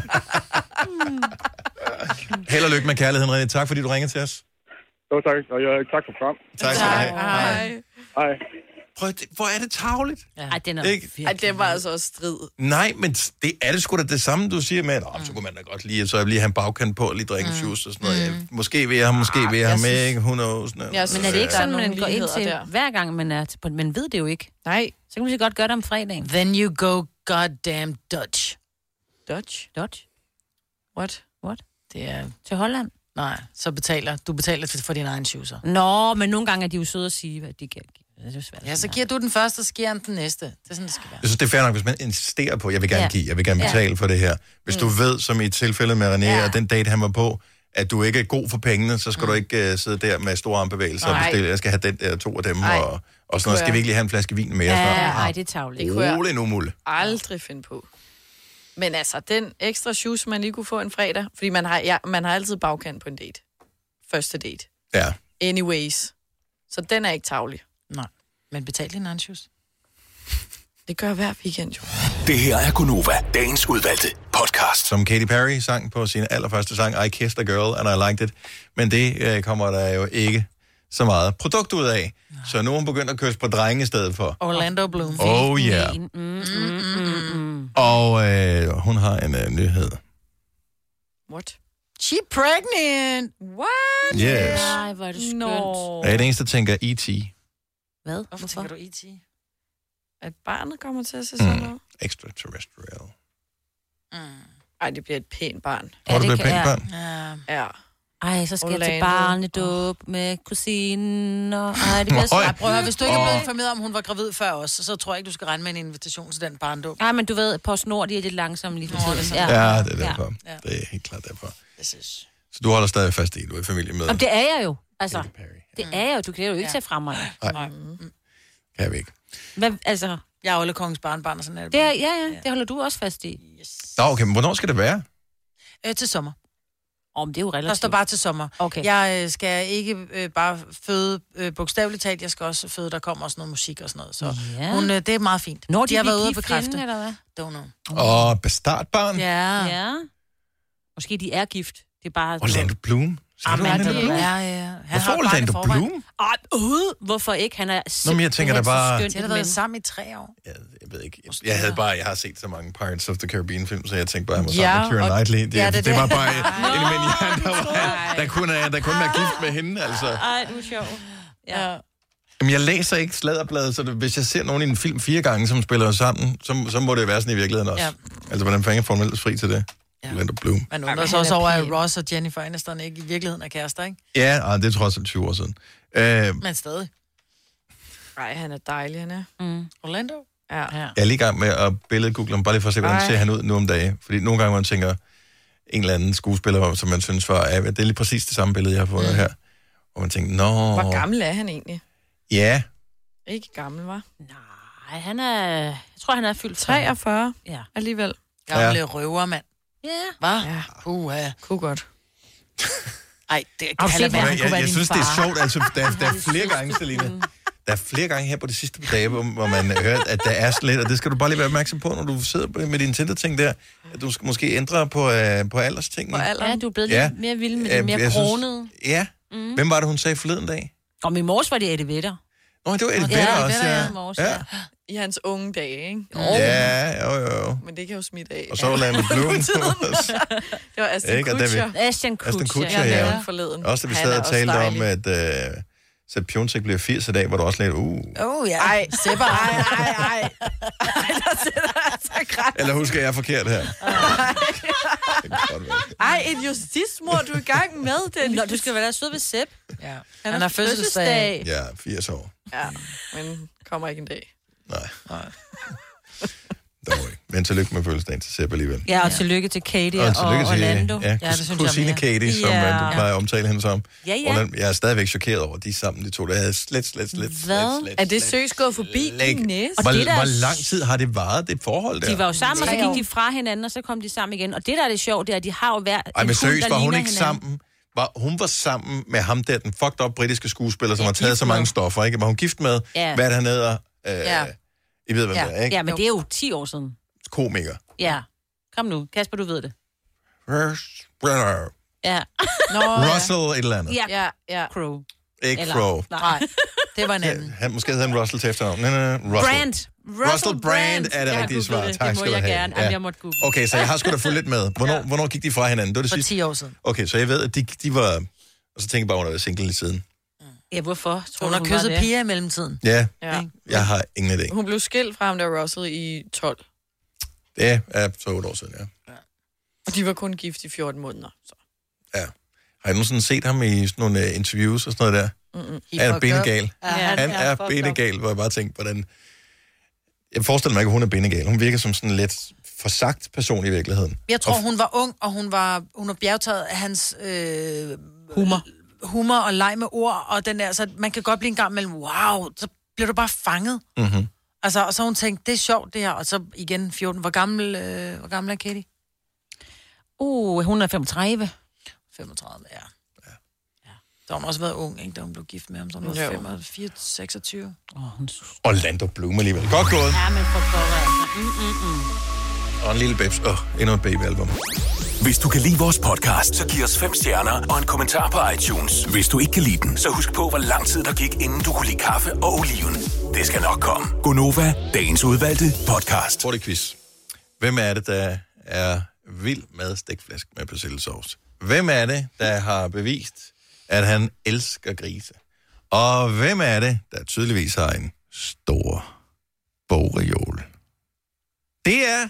A: Held og lykke med kærligheden, René. Tak, fordi du ringede til os.
S: Jo, tak. Og jeg, tak for frem.
A: Tak skal du have.
B: Hej.
S: Hej.
A: Prøv, at- hvor er det tavligt.
D: Ej, den er
A: Ikke?
B: Ej, det var altså også strid.
A: Nej, men det er det sgu da det samme, du siger med, at
D: Mm.
A: "Nå, så kunne man da godt lige, så jeg lige have en bagkant på og lige drikke en juice og sådan noget. Ja, Måske vil jeg have, måske vil jeg have
D: Ah, jeg
A: med,
D: synes-
A: ikke? Hun og sådan noget.
D: men er det ikke sådan,
A: Ja.
B: der er
D: man
B: nogle
D: går ind
B: ligheder
D: til
B: der.
D: der. hver gang, man er til, men ved det jo ikke.
B: Nej.
D: Så kan man lige så godt gøre det om fredagen.
C: Then you go goddamn Dutch.
B: Dutch?
D: Dutch.
B: What?
D: What?
C: Det er...
D: Til Holland.
C: Nej, så betaler... Du betaler for- for dine egne shoeser.
D: Nå, men nogle gange er de jo søde at sige, hvad de giver. Det er svært.
C: Ja, så giver du den første, så giver han den næste. Det er sådan, det skal være.
A: Jeg synes, det er fair nok, hvis man insisterer på, jeg vil gerne
C: Ja.
A: give, jeg vil gerne
C: Ja.
A: betale for det her. Hvis du
C: Mm.
A: ved, som i tilfældet med René og den date, han var på, at du ikke er god for pengene, så skal du ikke uh, sidde der med store armbevægelser og
D: Mm. Nej.
A: bestille, jeg skal have den der to af dem,
B: Ej,
A: og, og sådan
B: kunne
A: noget. Skal
B: jeg.
A: vi ikke lige have en flaske vin mere?
D: Ja,
A: Sådan noget.
D: ej, det er tavligt. Det kunne jeg.
A: Rolig nu, Mulle.
B: aldrig finde på. Men altså, den ekstra shoes, man lige kunne få en fredag, fordi man har, ja, man har altid bagkant på en date. Første date.
A: Ja.
B: Anyways. Så den er ikke tavlig.
C: Nej, men betal din egen shoes.
B: Det gør jeg hver weekend, jo.
F: Det her er Gunova, dagens udvalgte podcast.
A: Som Katy Perry sang på sin allerførste sang, I Kissed a Girl and I Liked It. Men det øh, kommer der jo ikke så meget produkt ud af. Så nu er hun begyndt at kysse på drenge i stedet for.
C: Orlando Bloom.
A: Oh, yeah.
D: Mm, mm, mm, mm.
A: Og øh, hun har en øh, nyhed.
B: What?
C: She pregnant!
B: What?
A: Yes.
D: Nej, hvor er det skønt.
B: Nå.
A: Jeg er den eneste, der tænker E E.T.
D: Hvad?
C: Hvorfor tænker du E E.T.?
B: At barnet kommer til
A: Mm.
B: at se sådan noget?
A: Extraterrestrial.
C: Mm.
B: Ej, det bliver et pænt barn.
A: Ja, Tror du, det det bliver kan- et pænt
C: Ja.
B: ja.
D: Ej, så skal jeg til
B: Orlando.
D: barnedåb med kusinen. Og... Ej, det
C: Nå,
D: bliver
C: Ej,
D: så...
C: prøv at høre, hvis du ikke er blevet informeret om, hun var gravid før os, så tror jeg ikke, du skal regne med en invitation til den barndåb.
D: Nej, men du ved, på snor, de er lidt langsomme lige for tiden.
A: Ja, det er derfor.
D: Ja.
A: Det er helt klart derfor. Så du holder stadig fast i, du er i familie med.
D: Jamen, det er jeg jo. Altså, det er jeg jo. Du kan jo ikke tage fra mig.
A: Nej. Kan vi ikke.
D: Hvad, altså,
C: jeg er Olle Kongens barnbarn og sådan er
D: det
C: det.
D: er, ja, ja, det holder du også fast i.
A: Nå, okay, men hvornår skal det være?
C: Øh, til sommer.
D: Om det er jo relativt.
C: Der står bare til sommer.
D: Okay.
C: Jeg øh, skal ikke øh, bare føde øh, bogstaveligt talt, jeg skal også føde, der kommer også noget musik og sådan noget. Så
D: Ja.
C: ja. hun, øh, det er meget fint.
D: Når de,
C: har
D: vil
C: været ude at
D: give
C: bekræfte.
D: fjenden, eller hvad?
C: Don't know.
A: Og bestartbarn?
C: Ja.
D: Ja. Måske de er gift. Det er bare...
A: Orlando Bloom? Ser
D: Ah,
A: du
D: men
A: Orlando
D: det-
A: Bloom?
D: ja,
C: ja.
A: Hvorfor Orlando Bloom?
D: Ah, øh, hvorfor ikke? Han er simpelthen
A: jeg tænker da
D: så
A: bare-
D: skønt.
A: De har da
D: et
A: været
D: menneske.
C: sammen i tre år.
A: Jeg ved ikke. Jeg havde bare, jeg har set så mange Pirates of the Caribbean film, så jeg tænkte bare, at jeg var
C: Ja,
A: sammen med Keira
C: og-
A: Knightley. Det,
C: Ja,
A: ja,
C: det er
A: det, det, var
C: det.
A: bare en af mine hjerner, der, var- der kunne, der kunne være gift med hende, altså.
D: Ej, du er sjov. Ja.
A: Jamen, jeg læser ikke sladderbladet, så det, hvis jeg ser nogen i en film fire gange, som spiller sammen, så, så må det jo være sådan i virkeligheden også.
C: Ja.
A: Altså, hvordan fanden får man ellers fri til det? Orlando Bloom.
C: Man undrer sig også over, at Ross og Jennifer Aniston ikke i virkeligheden er kærester, ikke?
A: Ja, og det er trods alt 20 år siden. Øh,
C: Men stadig.
B: Nej, han er dejlig, han er. Mm.
C: Orlando?
B: Ja.
A: Jeg er lige i gang med at billedgoogle ham, bare lige for at se, hvordan
B: Ej.
A: ser han ud nu om dagen. Fordi nogle gange, hvor man tænker, en eller anden skuespiller, som man synes var, ja, det er lige præcis det samme billede, jeg har fået mm. her. Og man tænker, nå...
B: Hvor gammel er han egentlig?
A: Ja,
B: Ikke gammel, var.
D: Ej, han er... Jeg tror, han er fyldt
B: 43
D: Ja.
B: alligevel.
C: Gamle ja. røver, mand.
D: Ja.
C: Hvad? Ja. Uha.
B: Kunne godt.
C: Ej, det kan
A: Har du set,
C: heller være,
A: hvor-
C: han
A: jeg,
C: kunne
A: jeg,
C: være
A: jeg
C: din
A: synes, det er
C: far.
A: sjovt. Altså, der, der er flere gange, Selina. Der er flere gange her på det sidste par dage, hvor hvor man hører, at der er slet, og det skal du bare lige være opmærksom på, når du sidder med dine Tinder-ting der, at du skal måske ændre på, øh, på alderstingene.
D: Ja, du er blevet
A: Ja.
D: lidt mere vild med
A: Ja,
D: det mere
A: jeg synes-
D: kronet.
A: Ja.
D: Mm.
A: Hvem var det, hun sagde forleden dag?
D: Og i morges var det Eddie Vedder.
A: Nå, det var Eddie
D: Ja,
A: Vedder
D: Eddie
A: også,
D: Vedder,
A: ja.
D: ja, i morges,
A: ja.
D: ja.
B: I hans unge dage, ikke?
A: Ja, jo, jo, jo.
B: Men det kan jo smitte af.
A: Og så Orlando
B: Ja.
A: Bloom.
B: det var Aston
A: Ikke? Og
B: Kutcher.
A: David- Aston Kutcher, ja.
B: Forleden.
A: Også da vi
B: Han
A: sad
B: er
A: og talte om,
B: dejlig.
A: at øh, Så Pjontek bliver 80 i dag, hvor du også lidt, uh.
C: Oh, ja. Ej, Sepper, ej, ej, ej.
A: Eller husker jeg forkert her?
B: Ej, et justitsmord, du er i gang med, Dennis.
D: Nå, du skal være der sød ved Sepp.
C: Ja.
B: Han har fødselsdag.
A: Ja, 80 år.
B: Ja, men kommer ikke en dag.
A: Nej. Nej. Men tillykke med fødselsdagen til Sepp alligevel.
D: Ja, og tillykke til Katie og,
A: tillykke til,
D: Orlando.
A: Ja, ja, det kusine
D: mere.
A: Katie, som
D: Ja.
A: ja. du plejer at omtale hende som.
D: Ja, ja.
A: Orlando, jeg er stadigvæk chokeret over, at de er sammen, de to. Der havde slet, slet, slet,
D: Hvad?
A: slet,
B: Er det seriøst gået forbi
A: slet.
B: din næse?
A: Hvor, hvor lang tid har det varet, det forhold der?
D: De var jo sammen, og så
B: Tre år.
D: gik de fra hinanden, og så kom de sammen igen. Og det, der er det sjovt, det er, at de har jo hver
A: Ej,
D: en
A: men
D: hund,
A: seriøst,
D: der
A: var hun
D: ligner
A: ikke
D: hinanden.
A: sammen? Var, hun var sammen med ham der, den fucked up britiske skuespiller, som har taget så
D: med.
A: mange stoffer, ikke? Var hun gift med?
D: Ja.
A: Hvad er det, han hedder? Øh, I ved, hvem
D: ja.
A: det er, ikke?
D: Ja, men det er jo 10 år siden.
A: Komiker.
D: Ja. Kom nu, Kasper, du ved det.
A: Rush Brenner.
D: Ja.
C: Nå,
A: Russell et eller andet.
D: Ja.
B: ja, ja.
D: Crow.
A: Ikke Crow.
C: Nej, det var en anden.
A: Han måske hedder han Russell til efternavn. Nej, nej, nej. Russell.
C: Brand.
A: Russell, Russell Brand er det
C: Jeg har
A: rigtige
C: googlet
A: svar.
C: det. Det
A: Tak
C: må
A: skal du
C: jeg
A: have.
C: gerne. Jamen, jeg måtte google.
A: Okay, så jeg har sgu da fulgt lidt med. Hvornår, ja. hvornår gik de fra hinanden? Det var det
C: For
A: sidste.
C: 10 år siden.
A: Okay, så jeg ved, at de, de var... Og så tænkte jeg bare, at hun havde været single lidt siden.
D: Ja, hvorfor? Tror
C: hun
D: du,
C: har kysset
D: var det?
C: piger i mellemtiden.
A: Ja,
B: Ja.
A: jeg har ingen idé.
B: Hun blev skilt fra ham der Russell i 12,
A: Det er så otte år siden, ja.
B: og de var kun gift i 14 måneder. Så.
A: Har I nogensinde set ham i sådan nogle øh, interviews og sådan noget der?
B: Mm-mm.
A: Han er benegal.
B: Ja,
A: han, han er,
B: fucked up.
A: benegal, hvor jeg bare tænkte, hvordan... Jeg forestiller mig ikke, at hun er benegal. Hun virker som sådan en lidt forsagt person i virkeligheden.
C: Jeg
A: Og
C: tror, hun var ung, og hun var, hun var bjergtaget af hans... Øh, humor. Humor og leg med ord, og den der, så man kan godt blive en gang mellem, wow, så bliver du bare fanget.
A: Mhm.
C: Altså, og så hun tænkte, det er sjovt det her, og så igen 14. Hvor gammel, øh, hvor gammel er Katie?
D: Uh, hun er 35.
C: 35, ja. ja. Så har hun også været ung, ikke, da hun blev gift med ham, så hun
D: Jo.
C: var 25, 26.
A: Orlando Bloom alligevel. Godt gået.
D: Ja, men for pokker, altså. Mm, mm, mm.
A: Og en lille babs. Åh, endnu et babyalbum.
F: Hvis du kan lide vores podcast, så giv os fem stjerner og en kommentar på iTunes. Hvis du ikke kan lide den, så husk på, hvor lang tid der gik, inden du kunne lide kaffe og oliven. Det skal nok komme.
A: Gonova, dagens udvalgte podcast. Hurtig quiz. Hvem er det, der er vild med stikflæsk med persillesovs? Hvem er det, der har bevist, at han elsker grise? Og hvem er det, der tydeligvis har en stor bogreol? Det er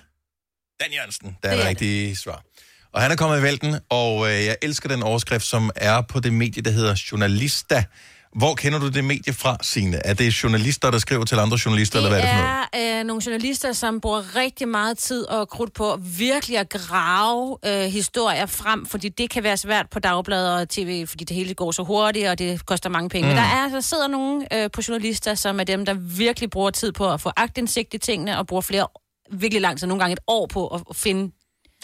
A: Dan Jørgensen, der er det rigtige svar. Og han er kommet i vælten, og øh, jeg elsker den overskrift, som er på det medie, der hedder Journalista. Hvor kender du det medie fra, Signe? Er det journalister, der skriver til andre journalister, eller hvad er det for noget?
D: er øh, nogle journalister, som bruger rigtig meget tid og krudt på virkelig at grave øh, historier frem, fordi det kan være svært på dagbladet og tv, fordi det hele går så hurtigt, og det koster mange penge. Mm. Men
R: Mm.
D: der er, der sidder nogle øh, på journalister, som er dem, der virkelig bruger tid på at få agtindsigt i tingene, og bruger flere virkelig lang tid, nogle gange et år på at, at finde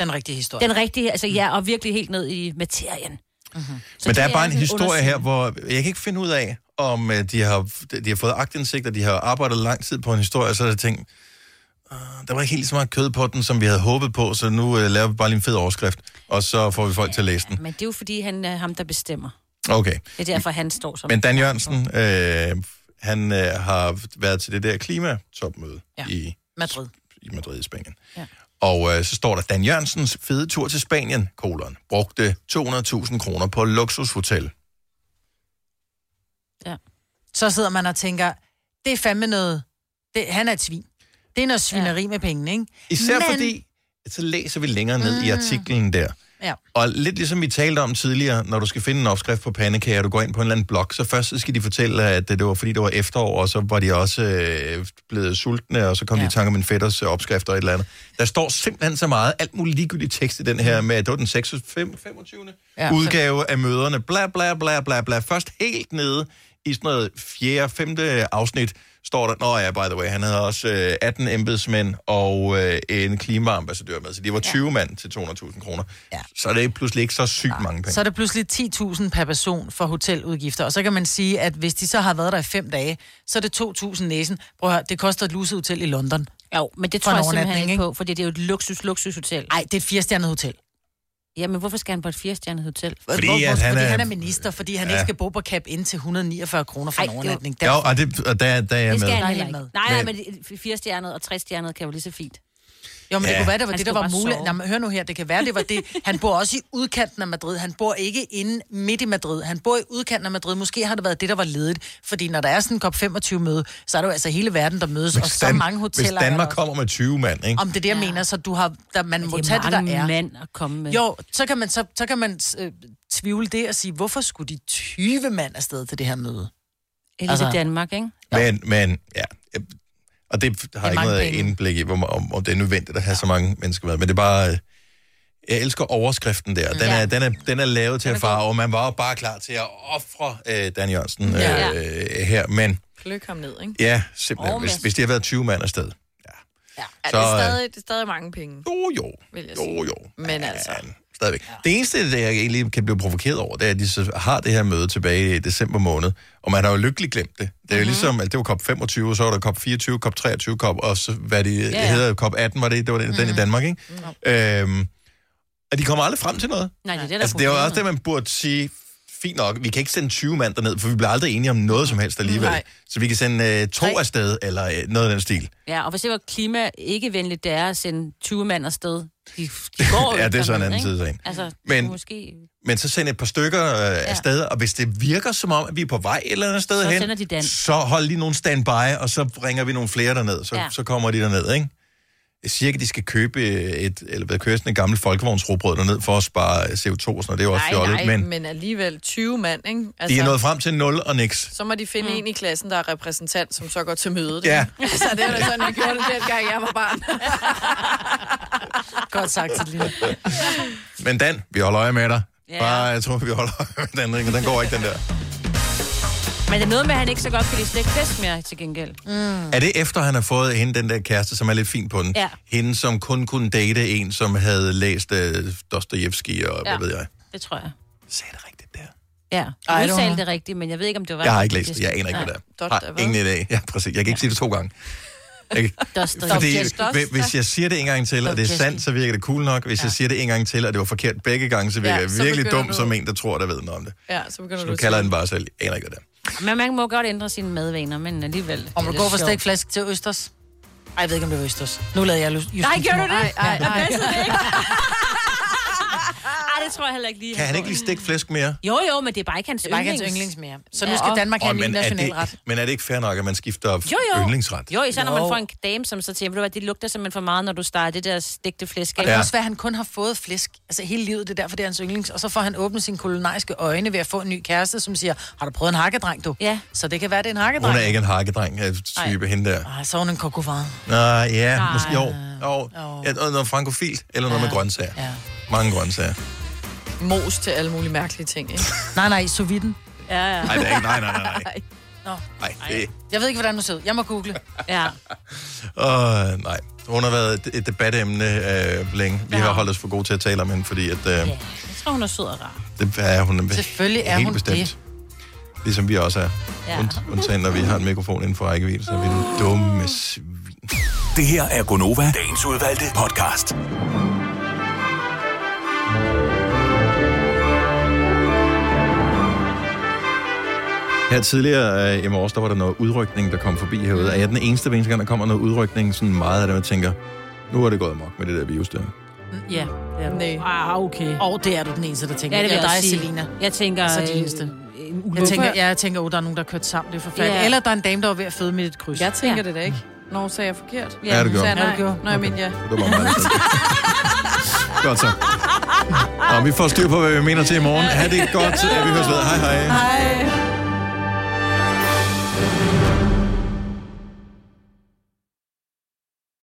C: Den rigtige historie.
D: den rigtige, altså
A: Mm.
D: ja, og virkelig helt ned i materien. Mm-hmm.
A: Så Men der er bare en historie her, hvor jeg kan ikke finde ud af, om øh, de har, de har fået agtindsigt, og de har arbejdet lang tid på en historie, og så har jeg tænkt, "Ah, der var ikke helt så meget kød på den, som vi havde håbet på, så nu øh, laver vi bare lige en fed overskrift, og så får vi folk til at læse den.
D: Men det er jo fordi, han er ham, der bestemmer.
A: Okay.
D: Det er derfor, han står som...
A: Men Dan Jørgensen, øh, han øh, har været til det der klimatopmøde ja. i,
C: Madrid.
A: i Madrid i Spanien. Ja. Og øh, så står der, Dan Jørgensens fede tur til Spanien, kolon, brugte 200.000 kroner på luksushotel.
C: Så sidder man og tænker, det er fandme noget... Det, han er et svin. Det er noget svineri ja. med pengene, ikke?
A: Især
C: Men-
A: Men... fordi, så læser vi længere ned mm. i
C: Mm.
A: artiklen der.
C: Ja.
A: Og lidt ligesom vi talte om tidligere, når du skal finde en opskrift på pandekager, og du går ind på en eller anden blog, så først så skal de fortælle, at øh, det var fordi, det var efterår, og så var de også øh, blevet sultne, og så kom ja. de i tanke om en fætters øh, opskrift og et eller andet. Der står simpelthen så meget, alt muligt ligegyldigt tekst i den her med, at det var den 26, 25. Ja, udgave af møderne, bla bla bla bla bla. Først helt nede i sådan noget fjerde, femte afsnit, står der, nå ja, by the way, han havde også øh, 18 embedsmænd og øh, en klimaambassadør med, så de var 20 ja. mand til 200.000 kroner. Ja. Så er det pludselig ikke så sygt ja. mange penge.
C: Så er det pludselig 10.000 per person for hoteludgifter. Og så kan man sige, at hvis de så har været der i fem dage, så er det 2.000 næsen. Prøv at høre, det koster et lusehotel i London.
D: Jo, men det
C: For
D: tror
C: en
D: jeg simpelthen
C: overnatning,
D: ikke på, fordi det er jo et luksus, luksushotel.
C: Nej, det er et firestjernet hotel.
D: Jamen, hvorfor skal han på et firestjernet hotel?
A: Fordi at han
C: fordi
A: er-
C: han er minister, fordi han
A: Ja.
C: ja. ikke skal bo på cap ind til 149 kroner for en
D: Ej,
C: overnatning.
A: Jo, og det, og der, der er jeg
D: Det
A: med.
D: skal han heller ikke. Nej,
A: Men-
D: nej, men firestjernet og trestjernet kan jo lige så fint.
C: Jo, men ja.
A: Ja.
C: det kunne være, det var
D: Han
C: det, der
D: skulle
C: var
D: bare
C: muligt.
D: sove.
C: Nå, men hør nu her, det kan være, det var det. Han bor også i udkanten af Madrid. Han bor ikke inde midt i Madrid. Han bor i udkanten af Madrid. Måske har det været det, der var ledigt. Fordi når der er sådan en COP25 møde, så er det jo altså hele verden, der mødes. og så
A: Dan-
C: mange hoteller.
A: Hvis
C: er der
A: Danmark
C: også.
A: kommer med 20 mand, ikke?
C: Om det er det, jeg ja. mener, så du har, der, man må
D: det er
C: tage det, der
D: mange
C: er.
D: mand at komme med.
C: Jo, så kan man, så, så kan man øh, tvivle det og sige, hvorfor skulle de 20 mand afsted til det her møde?
D: Eller altså, til Danmark, ikke?
A: Men, men ja, jeg- og det har
D: er
A: jeg ikke
D: mange
A: noget
D: penge.
A: indblik i, hvor, ma- om, om det er nødvendigt at have så mange mennesker med. Men det er bare, øh, jeg elsker overskriften der. Den,
D: Ja.
A: er, den, er, den er lavet til at farve, og man var jo bare klar til at ofre øh, Dan Jørgensen
B: Ja.
A: øh, øh, her. Men
B: Pløk ham ned, ikke?
A: ja, simpelthen,
B: Og
A: hvis,
B: Mads.
A: hvis det har været 20 mand afsted.
B: Ja,
A: Så,
B: det, er
A: øh,
B: stadig, det er stadig mange penge.
A: Jo, jo.
B: Vil jeg sige.
A: Jo, jo.
B: Men altså,
A: Stadigvæk. Ja. Det eneste, det jeg egentlig kan blive provokeret over, det er, at de så har det her møde tilbage i december måned, og man har jo lykkeligt glemt det. Det er
D: Mhm.
A: jo ligesom, at det var COP25, og så var der COP24, COP23, COP, og så, hvad det
D: ja. Mhm.
A: ja. hedder, COP18 var det, det var den, mm. den i Danmark, ikke? Mm. Øhm, og de kommer aldrig frem til noget.
D: Nej, det er det, der
A: altså, det er jo også det,
D: problemet.
A: man burde sige, fint nok, vi kan ikke sende 20 mand derned, for vi bliver aldrig enige om noget som helst alligevel.
D: Nej.
A: Så vi kan sende øh, to afsted, eller øh, noget af den stil.
D: Ja, og hvis det var klima ikke venligt, det er at sende 20 mand afsted. De, de går jo
A: Ja, det er så en
D: derned,
A: anden
D: ikke?
A: side af sagen.
D: Altså,
A: Men-
D: Men... måske...
A: Men så send et par stykker øh, afsted, og hvis det virker som om, at vi er på vej et eller andet sted
D: Så
A: hen,
D: sender de Dan.
A: så hold lige nogle standby, og så ringer vi nogle flere derned, så, ja.
D: Ja.
A: så kommer de derned, ikke? Jeg siger ikke, at de skal købe øh, et, eller hvad kører sådan en gammel folkevognsrobrød derned for at spare øh, CO2 og sådan noget. Det er jo også fjollet, men,
B: men... men alligevel 20 mand, ikke? Altså,
A: de
D: altså-
A: er nået frem til 0 og niks.
B: Så må de finde mm. en i klassen, der er repræsentant, som så går til mødet.
A: Ja.
B: ikke? Altså, det var da sådan, vi gjorde det dengang, jeg var barn.
C: Godt sagt til Lille.
A: Men Dan, vi holder øje med dig.
D: Ja. Mm.
A: Bare, jeg tror, vi holder øje med den, ikke? Den går ikke, den der.
D: Men det er noget med, at han ikke så godt kan lide slægtfest mere til gengæld. Mm.
A: Er det efter, han har fået hende, den der kæreste, som er lidt fin på den?
D: Ja.
A: Hende, som kun kunne date en, som havde læst øh, Dostojevski og ja. hvad ved jeg?
D: Det tror jeg.
A: Sagde det rigtigt
D: der? Ja,
A: Ej,
D: du
A: det var-
D: udtalte det rigtigt, men jeg ved ikke, om det var
A: Jeg har ikke læst det. Jeg aner ikke, hvad det er. Har ingen idé. Ja, præcis. Jeg kan ikke sige det to gange. Jeg kan- Fordi hvi- hvis jeg siger det en gang til, og det er
D: Dostojevski.
A: sandt, så virker det cool nok. Hvis jeg siger det en gang til, og det var forkert begge gange, så virker
D: Ja,
A: jeg
D: så
A: virkelig
D: begynder
A: dum
D: du-
A: som en, der tror, der ved noget om det.
B: Ja, så begynder
A: Så
B: du
A: nu
B: at
A: kalder jeg
B: sige-
A: den bare selv. Jeg aner ikke, hvad det er.
D: Men man må godt ændre sine madvaner, men alligevel...
C: Om du går fra stikflæsk til østers. Ej, jeg ved ikke, om det var østers. Nu lavede jeg just
D: Nej, gjorde du det?
C: Nej, nej,
D: Jeg
C: nej.
D: passede det ikke. Ej, det tror jeg heller ikke lige.
A: Kan han ikke lige stikke flæsk mere?
D: Jo, jo, men det er bare ikke hans
C: Det er bare ikke hans yndlings mere. Så nu skal Danmark have en
A: Åh,
C: ny
A: men er det-
C: nationalret.
A: Men er det ikke fair nok, at man skifter
D: Jo, jo.
A: yndlingsret?
D: Jo, især når man får en dame, som så siger, ved du hvad, det lugter simpelthen for meget, når du starter det der stegte flæsk.
C: Og det
D: af."
C: kan også være, at han kun har fået flæsk altså hele livet, det er derfor, det er hans yndlings. Og så får han åbnet sine kulinariske øjne ved at få en ny kæreste, som siger, har du prøvet en hakkedreng, du? Ja. Så det kan være, det er en hakkedreng.
A: Hun er ikke en hakkedreng-type, hende der.
D: Ah.
C: Ej, så er hun en kokofar.
A: Nå, ja, måske jo. jo. Ja, noget noget frankofilt, eller noget med grøntsager. Mange grøntsager.
B: Mos til alle mulige mærkelige ting, ikke?
C: Nej, nej, sous viden.
D: Ja, ja.
A: Nej, det er ikke, nej, nej, nej, nej.
C: Nå,
A: Nej, det,
C: jeg ved ikke, hvordan du ser ud. Jeg må google.
D: Ja.
A: åh, nej. Hun har været et- et debatemne øh, længe. Vi har holdt os for gode til at tale om hende, fordi at, øh,
D: Ja, jeg tror, hun er sød og rar.
A: det er hun
D: Selvfølgelig er
A: helt
D: hun
A: bestemt.
D: det.
A: Ligesom vi også er.
D: Ja.
A: Und- Undtagen, når vi har en mikrofon inden for rækkevidde, så er vi den dumme svin.
F: Det her er Gonova, dagens udvalgte podcast.
A: Her tidligere øh, i morges, der var der noget udrykning, der kom forbi herude. Er jeg den eneste, hver eneste gang, der kommer noget udrykning, sådan meget af det, man tænker, nu er det gået mok med det der virus der.
C: Ja.
B: Nej.
D: Ah, okay.
C: Og det er du den eneste, der tænker.
D: Ja, det vil
C: Eller
D: jeg
C: dig,
D: sige.
C: Selina.
D: Jeg tænker,
C: Så er
D: øh,
C: de eneste. Jeg
D: ulykke.
C: tænker, ja, jeg tænker, oh, der er nogen, der har kørt sammen. Det er forfærdeligt.
B: Ja.
C: Eller der er en dame, der var ved at føde med et kryds.
B: Jeg tænker det da ikke. Nå, sagde jeg forkert?
A: Ja, det
B: nu
A: gjorde
B: sagde jeg
A: du.
B: nej. Nå, jeg
A: Ja, det gjorde
B: mente ja.
A: Det var meget Godt så. Og vi får styr på, hvad vi mener til i morgen. Ha' det godt. Vi høres ved. Hej hej.
B: Hej.